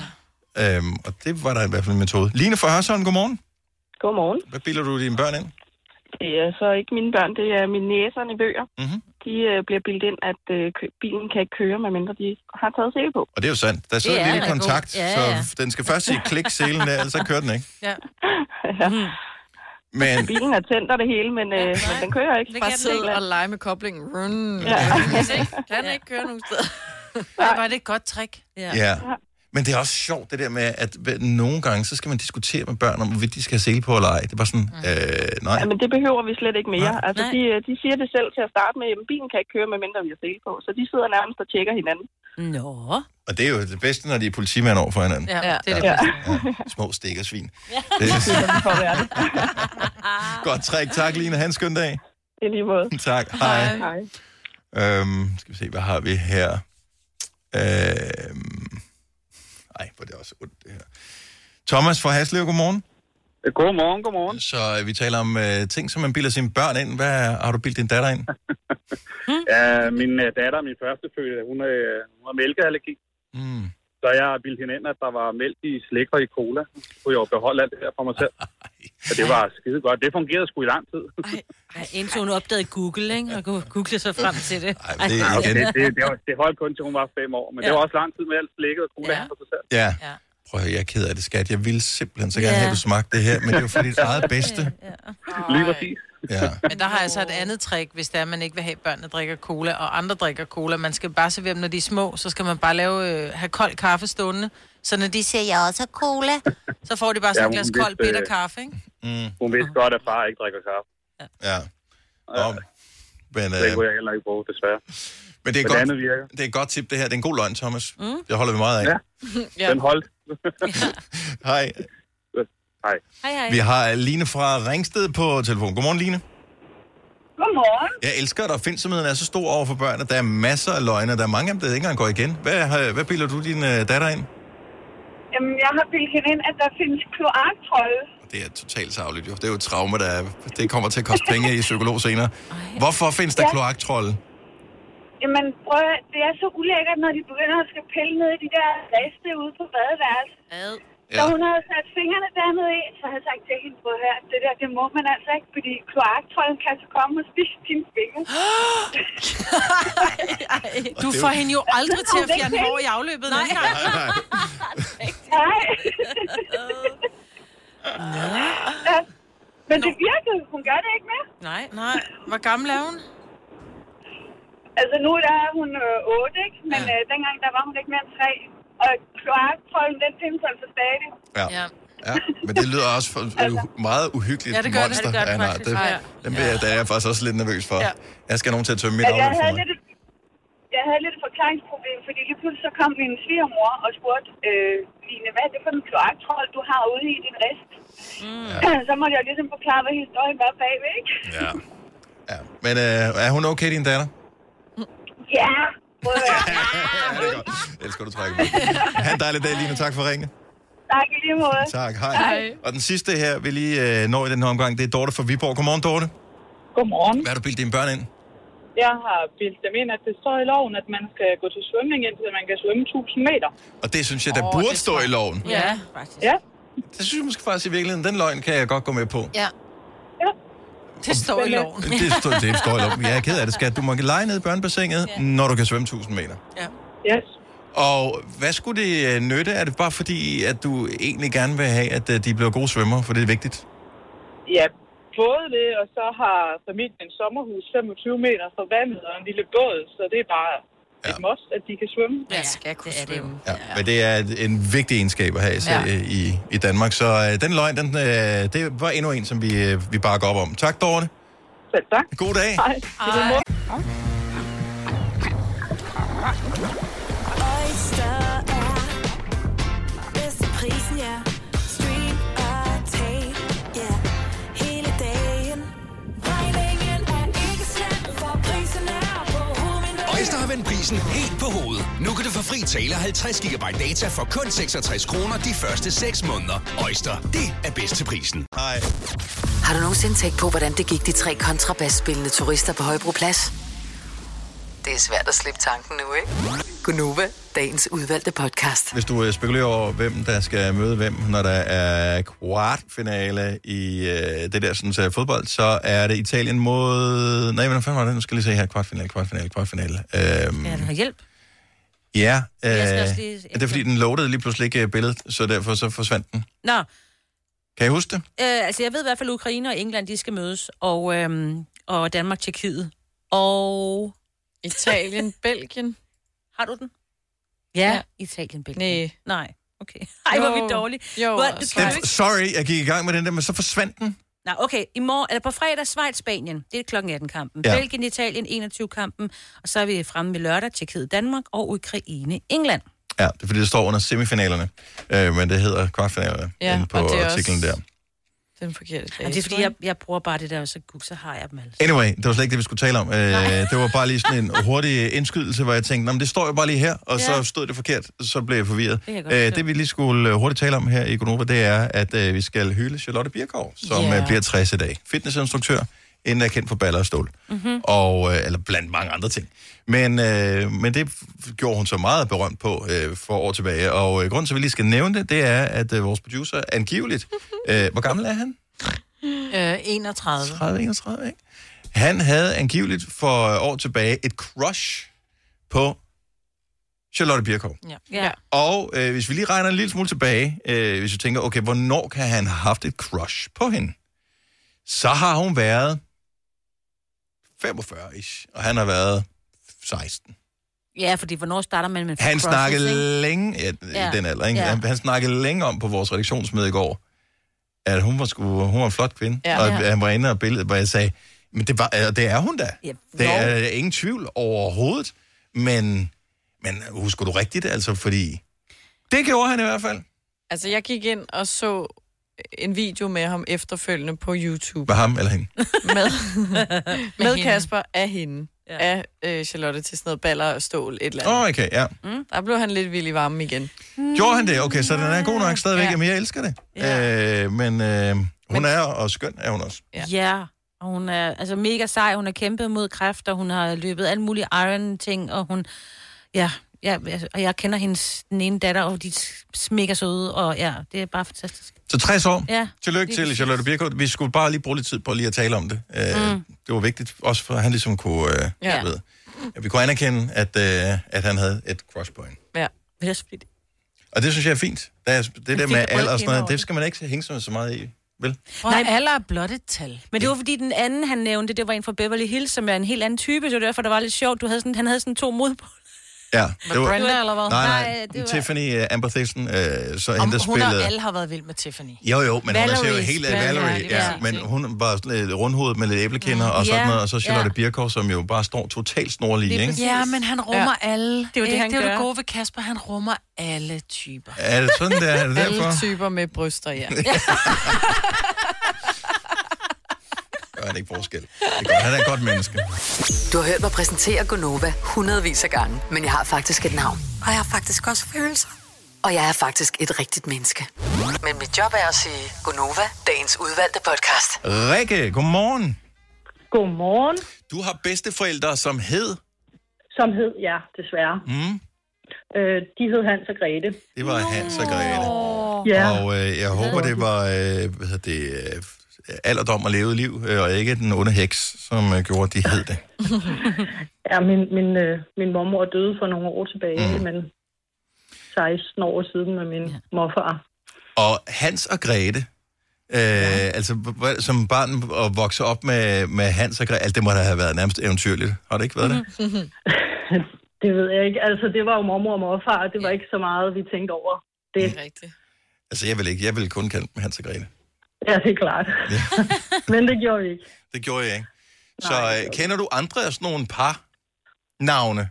A: Øhm, og det var der i hvert fald en metode. Line fra Hørsholm, godmorgen.
O: Godmorgen.
A: Hvad bilder du dine børn ind?
O: Det er så ikke mine børn, det er mine næserne i bøger.
A: Mm-hmm.
O: De øh, bliver bildt ind, at øh, kø- bilen kan ikke køre, medmindre de har taget sele på.
A: Og det er jo sandt. Der sidder
O: Det er
A: en lille
O: da god.
A: kontakt,
O: Ja,
A: så
O: ja.
A: f- den skal først sige klik selen der, ellers så kører den ikke.
O: Ja. ja.
A: Men
O: Bilen er tændt og det hele, men, øh, men den kører ikke.
E: Bare sidde og lege med koblingen. Run.
O: Ja.
E: Kan ikke (laughs) køre nogen steder.
B: Nej, var det et godt trick?
A: Ja. Men det er også sjovt, det der med, at hver- nogle gange, så skal man diskutere med børn om, hvorvidt de skal have sele på eller ej. Det er bare sådan, øh, nej.
O: Ja, men det behøver vi slet ikke mere.
A: Nej.
O: Altså, de, øh, de siger det selv til at starte med, at bilen kan ikke køre, medmindre vi har sele på. Så de sidder nærmest og tjekker hinanden.
C: Nå.
A: Og det er jo det bedste, når de er politimænd over for hinanden.
O: Ja, det er det
A: ja. (laughs) Små stikkersvin. (laughs) Det
O: Det er
A: er
O: sådan, for at være det.
A: (laughs) godt træk. Tak, Line. Ha' en skøn dag.
O: I lige måde.
A: (laughs) Tak. Hej.
O: Hej.
A: Øhm, skal vi se, hvad har vi her? Øhm, ej, hvor er det også ondt, det her. Thomas fra Haslev, godmorgen.
Q: Godmorgen, godmorgen.
A: Så øh, vi taler om øh, ting, som man bilder sine børn ind. Hvad har du bildt din datter ind?
Q: Ja, min øh, datter, min førstefødte, hun, øh, hun har mælkeallergi.
A: Mm.
Q: Så jeg har bildt hende ind, at der var mælk i slik og i cola. Så kunne jeg jo beholde alt det her for mig selv. Og det var skide godt. Det fungerede sgu i lang tid.
C: Ej, indtil hun opdagede Google, ikke? Og kunne google sig frem til det. Ej,
A: det
Q: Ej, det, det, det, var- det holdt kun til hun var fem år. Men ja. det
C: Ja.
Q: var også lang tid med alt slikket og cola ja. for sig selv.
A: Ja. prøv at høre, jeg er ked af det, skat. Jeg ville simpelthen så gerne
B: Ja.
A: have, at du smagte det her, men det var for dit eget bedste.
Q: Lige præcis.
A: Ja.
B: Men der har altså et andet trick, hvis det er, man ikke vil have, at børnene drikker cola, og andre drikker cola. Man skal bare servere dem, når de er små, så skal man bare lave, øh, have kold kaffe stående. Så når de siger, jeg også har cola, så får de bare sådan
Q: Ja,
B: ja, et glas
Q: hun
B: kold
Q: vidste,
B: bitter
Q: øh,
B: kaffe, ikke?
A: Mm.
Q: Hun vidste godt, at far ikke drikker kaffe.
A: Ja. Nå, men, øh,
Q: Det kunne jeg heller ikke bruge, desværre.
A: Men det er,
Q: Men
A: godt,
Q: det andet virker.
A: det er et godt tip, det her. Det er en god løgn, Thomas.
Q: Mm.
A: Det holder vi meget af. Ja.
E: ja.
Q: Den holdt.
A: Hej.
Q: Hej.
C: Hej, hej.
A: Vi har Line fra Ringsted på telefon. Godmorgen, Line.
P: Godmorgen.
A: Jeg elsker, at opfindsomheden er så stor over for børn, at der er masser af løgne, og der er mange af dem, der ikke engang går igen. Hvad, har- hvad bilder du din øh, datter ind?
P: Jamen, jeg har bildt hende ind, at der findes kloaktrolde.
A: Det er totalt savligt, jo. Det er jo et traume, der er, det kommer til at koste penge i psykolog senere. Hvorfor findes der
P: Ja.
A: kloaktrolde?
P: Jamen, prøv at, det er så ulækkert, når de begynder at skal pille ned i de der riste ude på badeværelset. Ja. Så hun havde sat fingrene dernede i, så havde jeg sagt til hende, prøv her, det der, det må man altså ikke, fordi kloaktrolden kan så komme og spise dine fingre.
B: Du får hende jo aldrig til at fjerne hår i afløbet. Nej,
A: nej.
P: Nej. (laughs) ja. Men det virkede. Hun gør det ikke mere.
B: Nej, nej. Hvor gammel er hun?
P: Altså nu der er hun øh, 8, ikke? men ja. øh, dengang der var hun ikke mere end 3. Og kloaktrolden, den findes altså stadig.
A: Ja. ja. Men det lyder også for, altså. meget uhyggeligt
P: Ja, det gør det.
A: monster.
P: Ja, det gør det
A: af en art.
P: faktisk. Ja, ja.
A: Dem bliver jeg, der er jeg faktisk også lidt nervøs for.
P: Ja.
A: Ja. Jeg skal have nogen til at tømme mit
P: Altså, jeg,
A: afløb for
P: havde
A: mig.
P: lidt, et- jeg havde lidt et forklaringsproblem, fordi lige pludselig så kom min svigermor og spurgte, øh, Line, hvad er det for en kloaktrold, du har ude i din rest? Mm. (clears throat) så måtte jeg ligesom forklare, hvad historien var bagved, ikke? (laughs)
A: Ja. ja. Men øh, er hun okay, din datter?
P: Ja, prøv at høre.
A: Jeg elsker, du trækker mig. Ha' en dejlig dag, Line. Tak for ringen.
P: tak i lige måde.
A: Tak. Hej. Og den sidste her, vi lige øh, når i den her omgang, det er Dorte fra Viborg. Godmorgen, Dorte.
R: Godmorgen.
A: Hvad har du bildt dine børn ind?
R: Jeg har bildt dem ind, at det står i loven, at man skal gå til svømning, indtil man kan svømme 1000 meter.
A: Og det synes jeg, der oh, burde stå i loven.
R: Ja,
C: faktisk.
R: Ja.
A: Det synes jeg måske faktisk i virkeligheden, den løgn kan jeg godt gå med på.
B: Ja. Det står
Q: øh,
B: i loven.
A: Det står, det står i loven. Jeg er ked af det, skat. Du må lege ned i børnebassinet, ja. når du kan svømme 1000 meter.
B: Ja.
R: Yes.
A: Og hvad skulle det øh, nytte? Er det bare fordi, at du egentlig gerne vil have, at øh, de bliver gode svømmere, for det er vigtigt?
R: Ja, både det, og så har familien et sommerhus 25 meter fra vandet og en lille båd, så det er bare ja. et must, at de kan svømme.
C: Ja, skal kunne det er svømme. Det.
A: Ja. Men det er et- en vigtig egenskab at have især,
R: Ja.
A: ja. i, i Danmark. Så øh, den løgn, den, øh, det var endnu en, som vi, øh, vi bakker op om. Tak, Dorte.
R: Selv tak.
A: God dag.
R: Hej.
J: Hej.
F: Oyster er bedst til prisen, ja. Stream og tag, ja. Hele dagen. Regningen er ikke slem, for prisen er på hovedet.
K: Øjster har vendt prisen helt på hovedet. Nu kan du få fri tale 50 GB data for kun 66 kroner de første 6 måneder. Øjster, det er bedst til prisen.
A: Hej.
G: Har du nogensinde tænkt på, hvordan det gik de tre kontrabasspillende turister på Højbroplads? Det er svært at slippe tanken nu, ikke? Gunova, dagens udvalgte podcast.
A: Hvis du øh, spekulerer over, hvem der skal møde hvem, når der er kvartfinale i øh, det der sådan, så fodbold, så er det Italien mod... Nej, men hvad fanden var det? Nu skal jeg lige se her. Kvartfinale, kvartfinale, kvartfinale. Øhm,
C: Ja, du har hjælp.
A: ja, øh,
C: Jeg skal også lige-
A: det er fordi, den loadede lige pludselig ikke øh, billedet, så derfor så forsvandt den.
C: Nå,
A: Kan I huske det?
C: Øh, altså, jeg ved i hvert fald, at Ukraine og England, de skal mødes, og, øhm, og Danmark, Tjekkiet, og...
E: Italien, Belgien.
C: Har du den? Ja, ja. Italien, Belgien. Nej. Nej, okay. (laughs) Ej,
E: Jo.
C: hvor er vi dårlige.
E: Jo,
C: Hvor,
E: altså.
C: kan
A: Den, sorry, jeg gik i gang med den der, men så forsvandt den.
C: Nej, okay. I morgen, eller på fredag, Schweiz, Spanien. Det er klokken 18 kampen.
A: Ja.
C: Ja. Belgien, Italien, 21 kampen. Og så er vi fremme med lørdag, Tjekkiet, Danmark og Ukraine, England.
A: Ja, det er fordi, det står under semifinalerne, øh, men det hedder kvartfinalerne
C: Ja,
A: ja, inde på
C: og det er
A: artiklen
C: også-
A: der.
E: Den forkerte dag.
C: Jamen, det er fordi, jeg, jeg bruger bare det der, og så, gud, så har jeg dem alle.
A: Anyway, det var slet ikke det, vi skulle tale om. Øh, (laughs) det var bare lige sådan en hurtig indskydelse, hvor jeg tænkte, "Nå, men det står jo bare lige her, og
C: Ja.
A: så stod det forkert, så blev jeg forvirret.
C: Det kan jeg godt
A: øh,
C: forstå.
A: det vi lige skulle øh, hurtigt tale om her i Gonova, det er, at øh, vi skal hylde Charlotte Birkov, som
K: Ja.
A: yeah. bliver 60 i dag. Fitnessinstruktør, inden er kendt for baller og stål. Mm-hmm. Og, øh, eller blandt mange andre ting. Men, øh, men det f- gjorde hun så meget berømt på øh, for år tilbage. Og øh, grunden til, at vi lige skal nævne det, det er, at øh, vores producer angiveligt...
C: (laughs)
A: Øh, hvor gammel er han?
B: Øh, 31.
A: 30, 31, ikke? Han havde angiveligt for år tilbage et crush på Charlotte Birkow.
B: Ja. ja.
A: Og øh, hvis vi lige regner en lille smule tilbage, øh, hvis vi tænker, okay, hvornår kan han have haft et crush på hende? Så har hun været 45-ish, og han har været 16.
C: Ja, fordi hvornår starter man med en
A: Han
C: crushes, ikke?
A: snakkede længe, ja, ja.
C: Ja.
A: den alder, ikke?
C: Ja.
A: Han, han snakkede længe om på vores redaktionsmøde i går, at hun var, sgu, hun var en flot kvinde,
C: Ja.
A: ja. og
C: Ja.
A: han var inde og billedet, hvor jeg sagde, men det, var, øh, det er hun da.
C: Ja,
A: Det er øh, ingen tvivl overhovedet, men, men husker du rigtigt, altså, fordi... Det gjorde han i hvert fald.
E: Altså, jeg gik ind og så en video med ham efterfølgende på YouTube.
A: Med ham eller hende.
E: med, med
A: hende.
E: Kasper af hende. Ja. Af øh, Charlotte til sådan noget baller og stål, et eller
A: Åh,
E: andet.
A: oh, okay, ja.
E: Mm, der blev han lidt vild i varmen igen.
A: Gjorde han det? Okay, så den er god nok stadigvæk.
E: Ja.
A: Jamen, jeg elsker det. Ja. Øh, men øh, hun men... er, og skøn er hun også.
C: Ja. ja. Og hun er altså mega sej, hun har kæmpet mod kræft, og hun har løbet alle mulige iron-ting, og hun... Ja, ja, altså, og jeg kender hendes den ene datter, og de er mega søde, og ja, det er bare fantastisk.
A: Så 60 år.
C: Ja.
A: Tillykke
C: Lige
A: til
C: præcis.
A: Charlotte Birkow. Vi skulle bare lige bruge lidt tid på lige at tale om det. Øh,
C: Mm.
A: Det var vigtigt, også for at han ligesom kunne... Øh,
C: Ja.
A: ja. ved, at vi kunne anerkende, at, øh, at han havde et crush på hende.
E: Ja.
C: Men det er fordi,
A: Og det synes jeg er fint. Der er, det der
C: fik
A: med
C: et ryk
A: alder og
C: ind
A: sådan noget,
C: over
A: det skal man ikke hænge sig så meget i, vel?
C: Nej,
B: alder er blot et tal.
C: Men det var fordi den anden, han nævnte, det var en fra Beverly Hills, som er en helt anden type, så det var derfor, det var lidt sjovt. Du havde sådan, han havde sådan to mod på.
A: Ja.
C: Var Brenda, eller hvad?
A: Nej, nej.
C: Nej, det var-
A: Tiffany uh, Amber Thigssen, uh, så
B: Om,
A: hende, der
B: hun og
A: spillede...
B: alle har været vild med Tiffany.
A: Jo, jo, men Valerie, hun er jo
B: Valerie
A: helt
B: spiller-
A: af
B: Ja,
A: Valerie.
B: lige
A: Ja,
B: præcis,
A: men hun var sådan lidt rundhovedet med lidt æblekinder og sådan
B: Ja,
A: noget, og så Charlotte
B: ja.
A: Birkow, som jo bare står totalt snorlig, ikke?
B: Ja, men han rummer ja. alle.
E: Det er jo det,
B: Ikke?
E: han
B: det, er jo
E: gør.
B: det gode ved Kasper, han rummer alle typer.
A: Er det sådan, det er? Er
E: (laughs)
A: det
E: Alle
A: derfor?
E: typer med bryster, ja.
A: Gør han ikke forskel. Det gør, han er et godt menneske.
G: Du har hørt mig præsentere Gonova hundredvis af gange, men jeg har faktisk et navn.
S: Og jeg har faktisk også følelser.
G: Og jeg er faktisk et rigtigt menneske. Men mit job er at sige Gonova, dagens udvalgte podcast.
A: Rikke, godmorgen.
S: Godmorgen.
A: Du har bedsteforældre, som hed...
S: Som hed, ja, desværre.
A: Mm.
S: Øh, de hed Hans og Grete.
A: Det var Hans og Grete.
S: Ja.
A: Og øh, jeg håber, det var øh, hvad hedder det, øh, alderdom og levet liv, øh, og ikke den onde heks, som øh, gjorde, at de hed det.
S: Ja, min, min, øh, min mormor døde for nogle år tilbage, mm. men 16 år siden med min morfar. (laughs)
A: Og Hans og Grete, øh, ja. altså h- h- som barn og vokse op med, med Hans og Grete, alt det må da have været nærmest eventyrligt. Har det ikke været det?
S: det ved jeg ikke. Altså, det var jo mormor og morfar, og det var ikke så meget, vi tænkte over. Det,
E: er rigtigt.
A: Altså jeg vil ikke, jeg vil kun kalde dem Hans og Grete.
S: Ja, det er klart. Ja. (laughs) men det gjorde vi ikke.
A: Det gjorde jeg ikke. Så øh, kender du andre af sådan nogle par navne?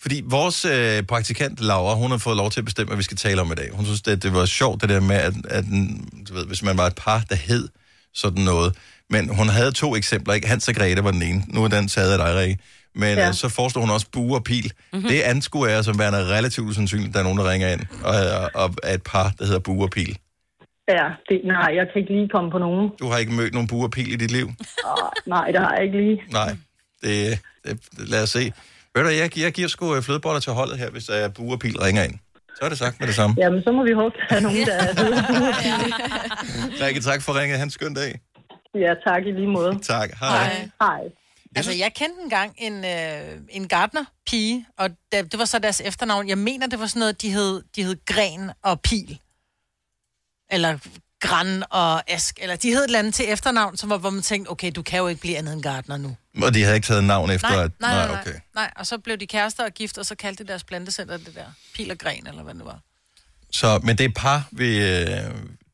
A: Fordi vores øh, praktikant Laura, hun har fået lov til at bestemme, hvad vi skal tale om i dag. Hun synes, at det var sjovt det der med, at, at den- du ved, hvis man var et par, der hed sådan noget. Men hun havde to eksempler, ikke? Hans og Grete var den ene. Nu er den taget af dig, Rikke. Men
S: Ja.
A: ja. øh, så foreslår hun også bue og pil. Mm-hmm. Det anskuer jeg som værende relativt usandsynligt, at der er nogen, der ringer ind og, og, og er et par, der hedder bue og pil.
S: Ja, det, nej, jeg kan ikke lige komme på nogen.
A: Du har ikke mødt nogen bue og pil i dit liv?
S: Åh, nej, det har jeg ikke lige.
A: Nej, det, det lad os se. Ved du, jeg, jeg giver sgu øh, flødeboller til holdet her, hvis der er bue og pil ringer ind. Så er det sagt med det samme.
S: Jamen, så må vi håbe, at der er nogen, der er
A: Rikke, tak for ringet. Han skøn dag.
S: Ja, tak i lige måde.
A: Tak. Hej. Hej.
S: Hej.
B: Altså, jeg kendte engang en, øh, en gardner-pige, og da, det var så deres efternavn. Jeg mener, det var sådan noget, de hed, de hed Gren og Pil. Eller Gran og Ask. Eller de hed et eller andet til efternavn, som var, hvor man tænkte, okay, du kan jo ikke blive andet end gardner nu.
A: Og de havde ikke taget navn efter,
B: nej,
A: at...
B: nej, nej, nej,
A: okay.
B: nej. Og så blev de kærester og gift, og så kaldte de deres plantecenter det der. Pil og Gren, eller hvad det var.
A: Så, men det er par, vi, øh,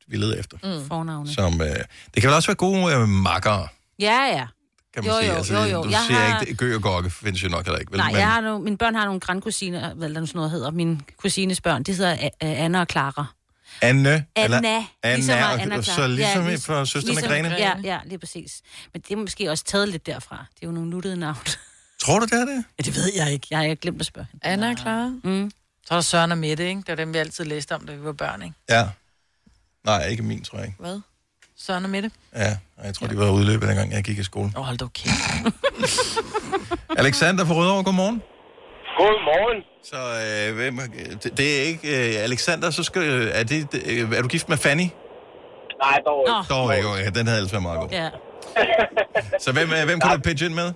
A: vi leder efter.
C: Mm. Fornavne.
A: Som, øh, det kan vel også være gode øh, makkere,
C: Ja, ja.
A: kan man
C: Jo,
A: sige. Altså,
C: jo, jo, jo.
A: Du
C: Jeg
A: ser
C: har-
A: ikke, det- Gø og Gokke findes jo nok heller ikke. Vel?
C: Nej,
A: men,
C: jeg har nogle, mine børn har nogle grandkusiner, hvad der nu sådan noget hedder. Mine kusines børn, de hedder A- A- Anna og Clara.
A: Anne, eller,
C: Anna.
A: Anna,
C: ligesom mig,
A: og,
C: Anna
A: og,
C: Clara.
A: så ligesom ja,
C: lig-
A: for søsterne ligesom, Grene.
C: Ja, ja, lige præcis. Men det er måske også taget lidt derfra. Det er jo nogle nuttede navn.
A: Tror du, det er det?
C: Ja, det ved jeg ikke. Jeg har glemt at spørge.
E: Anna er klar.
C: Mm.
B: Så er der Søren og Mette, ikke? Det var dem, vi altid læste om, da vi var børn, ikke?
A: Ja. Nej, ikke min, tror jeg ikke.
B: Hvad? Søren og Mette?
A: Ja, og jeg tror, de var udløbet, dengang jeg gik i skole.
B: Åh, oh, hold da okay.
A: Alexander fra Rødovre, godmorgen.
T: Godmorgen.
A: Så øh, hvem, det, det er ikke... Øh, Alexander, så skal, øh, er, det, det- øh, er du gift med Fanny?
T: Nej, dog
A: ikke. Dog ikke, okay. Den havde ellers været meget god.
C: Ja.
A: Så hvem, øh, hvem kunne du pitche ind med?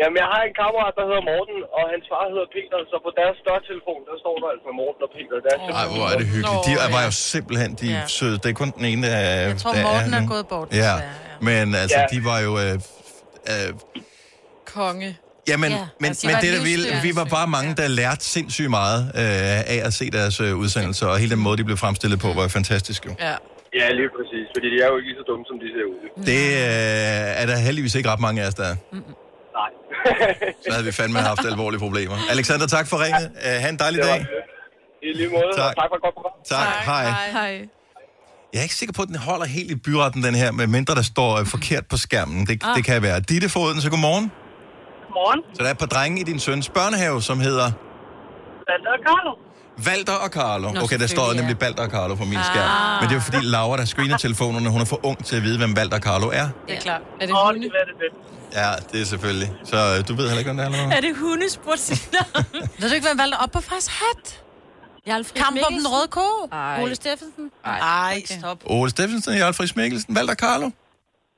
T: Jamen, jeg har en kammerat, der hedder Morten, og hans far hedder Peter, så på deres dørtelefon, der står der altså Morten og Peter. Der oh.
A: Ej, hvor er det hyggeligt. De er, var jo simpelthen de
T: Ja.
A: ja. søde. Det er kun den ene, der er...
T: Jeg tror,
A: der
T: Morten er
A: nu.
T: gået bort,
A: Ja.
T: desværre,
A: ja, men altså,
T: Ja.
A: de var jo... Øh, øh,
E: Konge.
A: Jamen, ja,
E: Ja,
A: men,
E: altså, de
A: altså, men
E: var
A: det, der vi,
E: livsstyrende.
A: vi var bare mange, der lærte sindssygt meget øh, af at se deres øh, udsendelser, og hele den måde, de blev fremstillet på, var jo fantastisk jo.
E: Ja.
T: Ja, lige præcis, fordi de er jo ikke lige så dumme, som de ser ud.
A: Det øh, er der heldigvis ikke ret mange af os, der er.
T: (laughs) Nej.
A: Så havde vi fandme haft alvorlige problemer. Alexander, tak for ringet. Uh, ha' en dejlig dag.
T: I lige måde,
A: Tak.
T: tak. og tak for et godt program.
A: Tak. Hej.
E: Hej.
A: Jeg er ikke sikker på, at den holder helt i byretten, den her, medmindre der står øh, forkert på skærmen. Det,
U: Ah.
A: det kan være. Ditte Foden, så godmorgen.
U: Morgen.
A: Så der er et par drenge i din søns børnehave, som hedder
U: Valter og Carlo.
A: Valter og Carlo.
U: Nå,
A: okay, der står
U: selvfølgelig,
A: nemlig Valter og Carlo på min
U: Ah.
A: skærm. Men det er jo fordi Laura, der screener telefonerne, hun er for ung til at vide, hvem Valter og Carlo er.
E: Det er klart. Er
U: det hunde? Det er det fedt.
A: Ja, det er selvfølgelig. Så øh, du ved heller ikke, hvem det er, eller hvad?
B: Er det hunde, spurgte sin Ved du ikke, hvem valgte op på fars hat?
C: (laughs) Jeg er
B: Kamp om den
C: Mikkelsen.
B: røde ko.
C: Ej. Ole Steffensen.
B: Nej, okay. stop.
A: Ole Steffensen, Jarl Friis Mikkelsen, Valter og Carlo.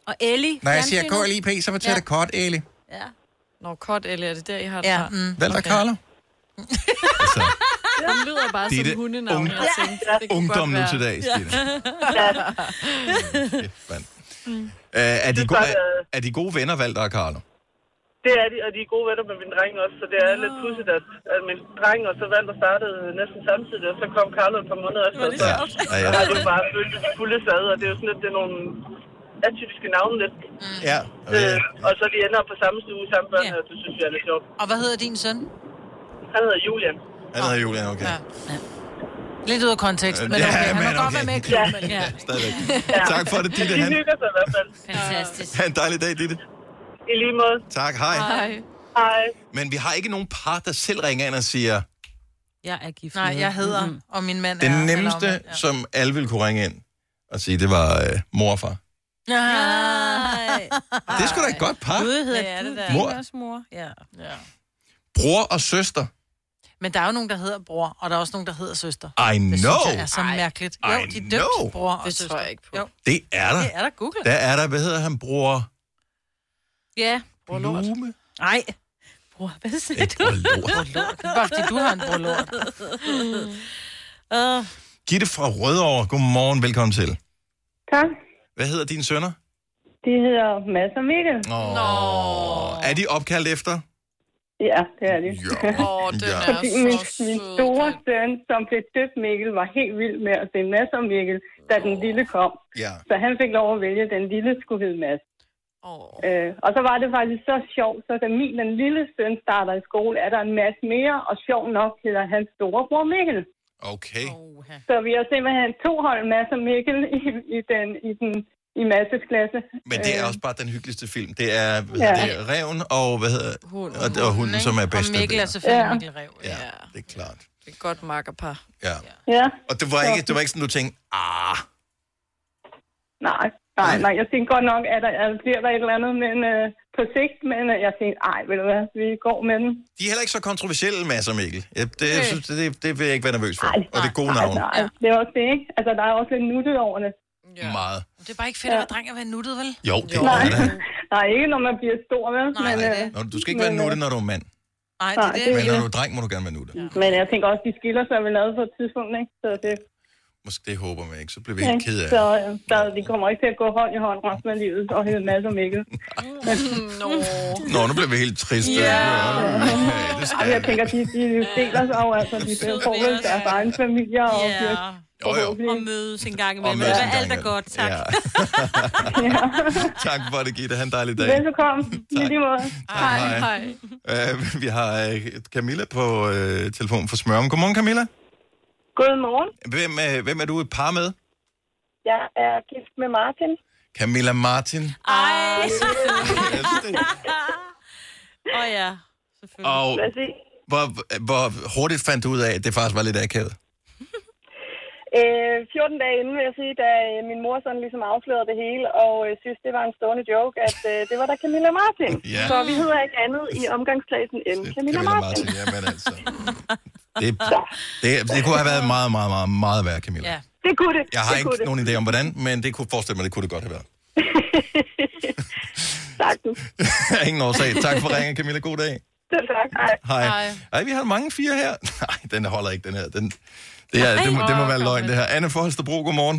C: Og Ellie.
A: Når jeg siger
C: fjernsynet.
A: KLIP, så fortæller det kort, Eli.
E: Mm.
C: Ja.
E: Nå, kort, eller er det der, I har det
C: Ja,
E: fra?
A: mm. Valter og Carlo.
E: Den lyder bare
A: Det er
E: som
A: det
E: hundenavn,
A: ung-
E: jeg tænkte. Det kunne
A: ungdom
E: godt
A: nu
E: være.
A: til dags,
E: (laughs) Ja.
A: Stine. Øh, er, de gode, er, er de gode venner, Valter og Carlo?
U: Det er de, og de er gode venner med min dreng også, så det er lidt pudsigt, at, at min dreng og så valgte startede øh, næsten samtidig, og så kom Carlo et par måneder efter. Så, ja.
A: Ja,
U: ja.
A: ja.
U: det er bare følt fulde sad, og det er jo sådan lidt, det er nogle atypiske navne lidt.
A: Ja.
U: Øh, og så de ender på samme stue, samme børn, og det synes jeg er lidt sjovt.
B: Og hvad hedder din søn?
U: Han hedder Julian.
A: Han hedder Julian, okay. Ja.
B: Lidt ud af kontekst, men
A: Øh,
B: okay,
A: Ja,
B: han
A: men
B: må godt
A: okay.
B: være med i klubben. Ja.
A: Stadigvæk. Tak for det, Ditte.
U: De
A: Han,
U: hygger sig i hvert fald.
A: E.
C: Fantastisk.
A: ha' en dejlig dag, Ditte.
U: I lige måde.
A: Tak, hej.
U: Hej.
A: Men vi har ikke nogen par, der selv ringer ind og siger,
C: Jeg er gift
B: Nej,
C: med-
B: jeg hedder,
C: Mhm.
B: og min mand er...
A: den
B: eller
A: nemmeste,
B: omvendt.
A: som alle ville kunne ringe ind og sige, det var øh, mor og far.
B: Nej.
A: Det er sgu da et godt par.
B: Gud hedder ja, det der.
A: Mor.
B: Også mor. Ja. ja.
A: Bror og søster.
B: Men der er jo nogen, der hedder bror, og der er også nogen, der hedder søster.
A: I
B: Det
A: know.
B: synes jeg er så mærkeligt. Jo,
A: I
B: de er døbt
A: know.
B: bror og søster. Det tror jeg ikke på. Jo.
A: Det er der.
B: Det er der, Google.
A: Der er der, hvad hedder han, bror?
B: Ja.
A: Bror Lort. Blume.
B: Nej. Bror, hvad siger du?
A: Bror
B: Lort. Bare fordi du har en bror Lort.
C: Uh,
A: Gitte fra Rødovre, godmorgen, velkommen til.
O: Tak.
A: Hvad hedder dine sønner?
O: Det hedder Mads og Mikkel.
A: Nå. Er de opkaldt efter?
O: Ja, det er det.
E: Åh,
A: den er
S: (laughs)
O: Fordi
A: så
O: min, min store søn, som blev døbt Mikkel, var helt vild med at se Mads og Mikkel, da den lille kom.
A: Ja.
O: Så han fik lov at vælge, at den lille skulle hedde Mads. Øh, og så var det faktisk så sjovt, så da min den lille søn starter i skole, er der en masse mere, og sjov nok hedder hans storebror Mikkel.
A: Okay.
O: Så vi har simpelthen to hold Mads og Mikkel i, i, den, i, den, i Masses klasse.
A: Men det
B: Øh.
A: er også bare den hyggeligste film. Det er, hvad
O: Ja.
A: hedder det, Reven og, hvad hedder,
E: Hunden.
A: og, og hunden, som er bedst
E: Og Mikkel er selvfølgelig Mikkel Rev.
A: Ja, det er klart.
E: Det er et godt makkerpar.
A: Ja.
O: Ja.
A: Og det var, ikke, det var ikke sådan, du tænkte, ah,
O: Nej, nej, nej. Jeg tænkte godt nok, at der at bliver der et eller andet men, øh, på sigt, men øh, jeg tænkte, ej, ved du hvad, vi går med den.
A: de er heller ikke så kontroversielle, Mads og Mikkel. Ja, det, jeg synes, det, det vil jeg ikke være nervøs for. og det er gode navne.
O: Nej, det er også det, ikke? Altså, der er også lidt nuttet over det.
A: Ja. Meget.
B: Det er bare ikke fedt at være dreng og være nuttet, vel?
A: Jo, det
O: Nej.
A: er det.
O: nej, ikke når man bliver stor, vel? Nej, men, øh,
A: Nå, Du skal ikke være nutte, når du er mand.
B: Nej,
O: det er det.
A: Men når du er dreng, må du gerne være nutte.
O: Men jeg tænker også, de skiller sig vel ad på et tidspunkt, ikke? Så det,
A: Måske det håber man ikke, så bliver vi helt ked af
O: Så
A: det.
O: øh, der, de kommer ikke til at gå hånd i hånd resten af livet og hedde Mads og Mikkel. (laughs)
E: Nå.
A: Nå, nu bliver vi helt triste. Okay, det
O: Ej,
A: skal
O: jeg tænker, de, de deler sig jo, altså, de får vel deres egen familie og
C: Ja.
O: bliver
A: Jo, jo.
C: og mødes en gang
A: Og
C: imellem.
A: mødes
C: Det
A: en
C: var alt
A: gang
C: er godt, tak.
A: Ja.
O: (laughs)
A: (laughs) tak for det, Gitte. Ha' en dejlig dag.
O: Velkommen. I lige måde.
A: Hej. Hej. Uh, vi har øh, Camilla på øh, telefonen fra Smørum. Godmorgen, Camilla.
O: Godmorgen.
A: Hvem, øh, hvem er du et par med?
V: Jeg er gift med Martin.
A: Camilla Martin.
V: Ej!
C: Åh oh, ja, selvfølgelig.
A: Og hvor, hvor hurtigt fandt du ud af, at det faktisk var lidt akavet?
V: Øh, 14 dage inden, vil jeg sige, da øh, min mor sådan ligesom afslørede det hele, og øh, synes, det var en stående joke, at øh, det var da Camilla Martin.
A: Ja.
V: Så vi hedder ikke andet i (laughs) omgangskredsen end Camilla,
A: Camilla
V: Martin.
A: Martin, jamen altså. Det, det, det kunne have været meget, meget, meget, meget værre, Camilla.
V: Det kunne det.
A: Jeg har
V: det kunne
A: ikke nogen idé om, hvordan, men det kunne forestille mig, det kunne det godt have været. (laughs) Sagtens. Ingen årsag. Tak for ringen, Camilla. God dag.
W: Selv tak. Hej.
A: Hej. Hej. Ej, vi har mange fire her. (laughs) Nej, den holder ikke, den her. Den, det, er, det, må, det må være løgn, det her. Anne Forholstebro, godmorgen.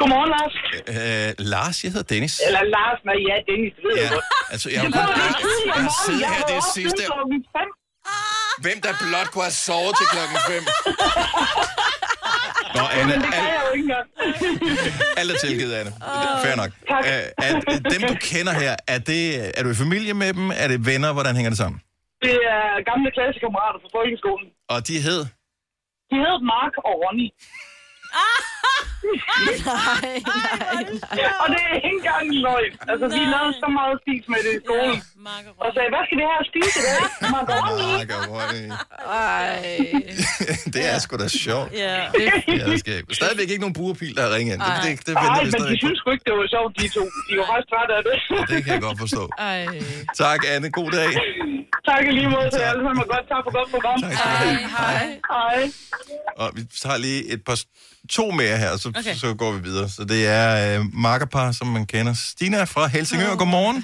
O: Godmorgen, Lars.
A: Øh, Lars, jeg hedder Dennis.
O: Eller Lars, nej, ja, Dennis, ved
A: ja. Altså, jeg har jo
O: Det var
A: kun-
O: lidt tidligt om
A: Jeg har
O: morgenen.
A: siddet
O: Jeg
A: her
O: var
A: det
O: oppe siden
A: sidste.
O: klokken fem.
A: Hvem der blot kunne have sovet til klokken 5? Nå, Anne,
O: Men det kan jeg jo ikke engang.
A: (laughs) alt er tilgivet, Anne. Fair nok.
O: Tak.
A: Øh, er, dem, du kender her, er, det, er du i familie med dem? Er det venner? Hvordan hænger det sammen?
O: Det er gamle klassekammerater fra folkeskolen.
A: Og de hed?
O: De hedder Mark og (laughs) Ronny.
C: nej, nej, nej.
O: Og det er ikke engang en løgn. Altså, vi lavede så meget spis med det i skolen. Og sagde, hvad skal vi have at spise i dag? (laughs) Mark og Ronny.
A: Mark og Ronny.
O: Ej.
A: (laughs) Det er sgu da sjovt.
O: Ja.
A: Ja, det skal jeg. Stadigvæk ikke nogen brugerpil, der har ringet ind. Det, det, det
O: Nej,
A: venter vi
O: men de
A: stadig på.
O: synes sgu ikke, det var sjovt, de to. De var faktisk trætte af det.
A: Det kan jeg godt forstå. Tak, Anne. God dag.
O: (laughs) tak i lige måde til jer alle sammen, og godt tak for godt program. Hej, hej. Hej.
A: Og vi tager lige et par, to mere her, og så,
O: Okay.
A: okay. så går vi videre. Så det er øh, makkerpar, som man kender. Stina fra Helsingør, godmorgen.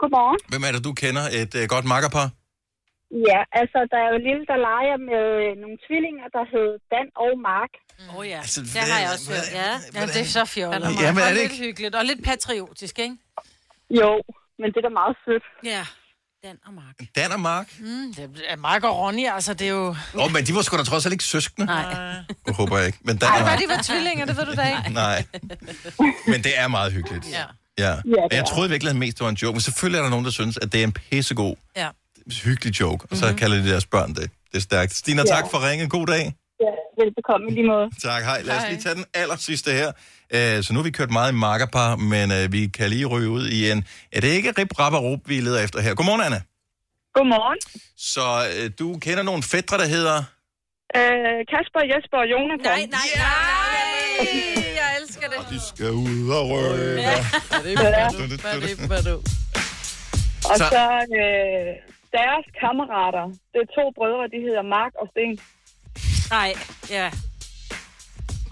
P: Godmorgen.
A: Hvem er det, du kender? Et øh, godt makkerpar?
P: Ja, altså, der er jo lille, der leger med øh, nogle tvillinger, der hed Dan og Mark.
B: Åh oh, ja,
A: altså,
B: det har jeg også hørt. Ja. ja, det er så fjollet.
A: Ja, men er
B: Og
A: det
B: lidt
A: ikke-
B: hyggeligt, og lidt patriotisk, ikke?
P: Jo, men det er da meget sødt.
B: Ja.
A: Dan og Mark?
B: Mm, det er Mark og Ronny, altså, det er jo...
A: Åh, oh, men de var sgu da trods alt ikke søskende.
B: Nej.
A: Det håber jeg ikke. Men Dan
B: Ej,
A: og
B: var
A: Mark.
B: de var tvillinger, det ved du da ikke.
A: Nej. Men det er meget hyggeligt.
B: Ja.
A: Ja.
B: det
A: Og jeg
B: er.
A: troede virkelig, at mest det var en joke, men selvfølgelig er der nogen, der synes, at det er en pissegod,
B: Ja.
A: hyggelig joke, og så
O: Mhm.
A: mm-hmm. kalder de deres børn det. Det er stærkt. Stina, tak for ringen. God dag.
P: Ja, velbekomme i lige måde.
A: Tak, hej. Lad os lige tage den aller sidste her. Øh, Så nu har vi kørt meget i makkerpar, men øh, vi kan lige ryge ud i en... Er det ikke rip, rap og rup, vi leder efter her? Godmorgen, Anna.
O: Godmorgen.
A: Så øh, du kender nogle fætter, der hedder...
O: Øh, Kasper, Jesper og Jonas. Nej, nej, nej.
E: Jeg elsker det.
A: De skal ud og røre.
O: Ja. Og
A: Så-
O: så øh, deres kammerater. Det er to brødre, de hedder Mark og Sten.
X: Nej, ja.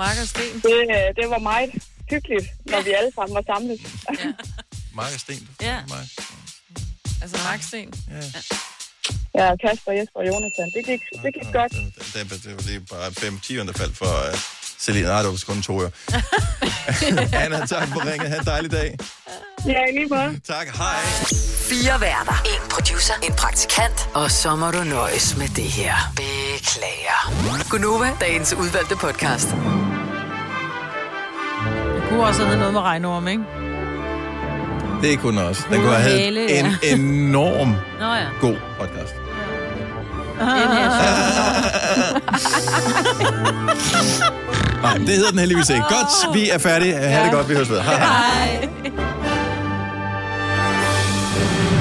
O: Mark og Sten? Det, øh, det var meget hyggeligt, når vi alle sammen var samlet.
A: Mark og Sten.
O: Ja.
A: Mark.
E: Altså Marksten.
A: Ja.
O: Ja, Kasper, Jesper og Jonathan. Det gik, det gik godt.
A: Det, det, det var lige bare 5 10 der faldt for uh, Selina. Nej, det var kun to, jo. Anna, tak for ringet. Ha' en dejlig dag.
O: Ja, i lige måde.
A: Tak, hej.
G: Fire værter. En producer. En praktikant. Og så må du nøjes med det her. Beklager. Gunova, dagens udvalgte podcast.
B: Det kunne også have noget med regnorm, ikke?
A: Det kunne også. Den kunne have
B: Hele,
A: heddet
B: ja.
A: en enorm
B: Nå ja.
A: god podcast.
E: Ah.
A: Nej, men det hedder den heldigvis ikke. Godt, vi er færdige. Ha' det godt, vi høres ved. Hej. hej.
C: Hej.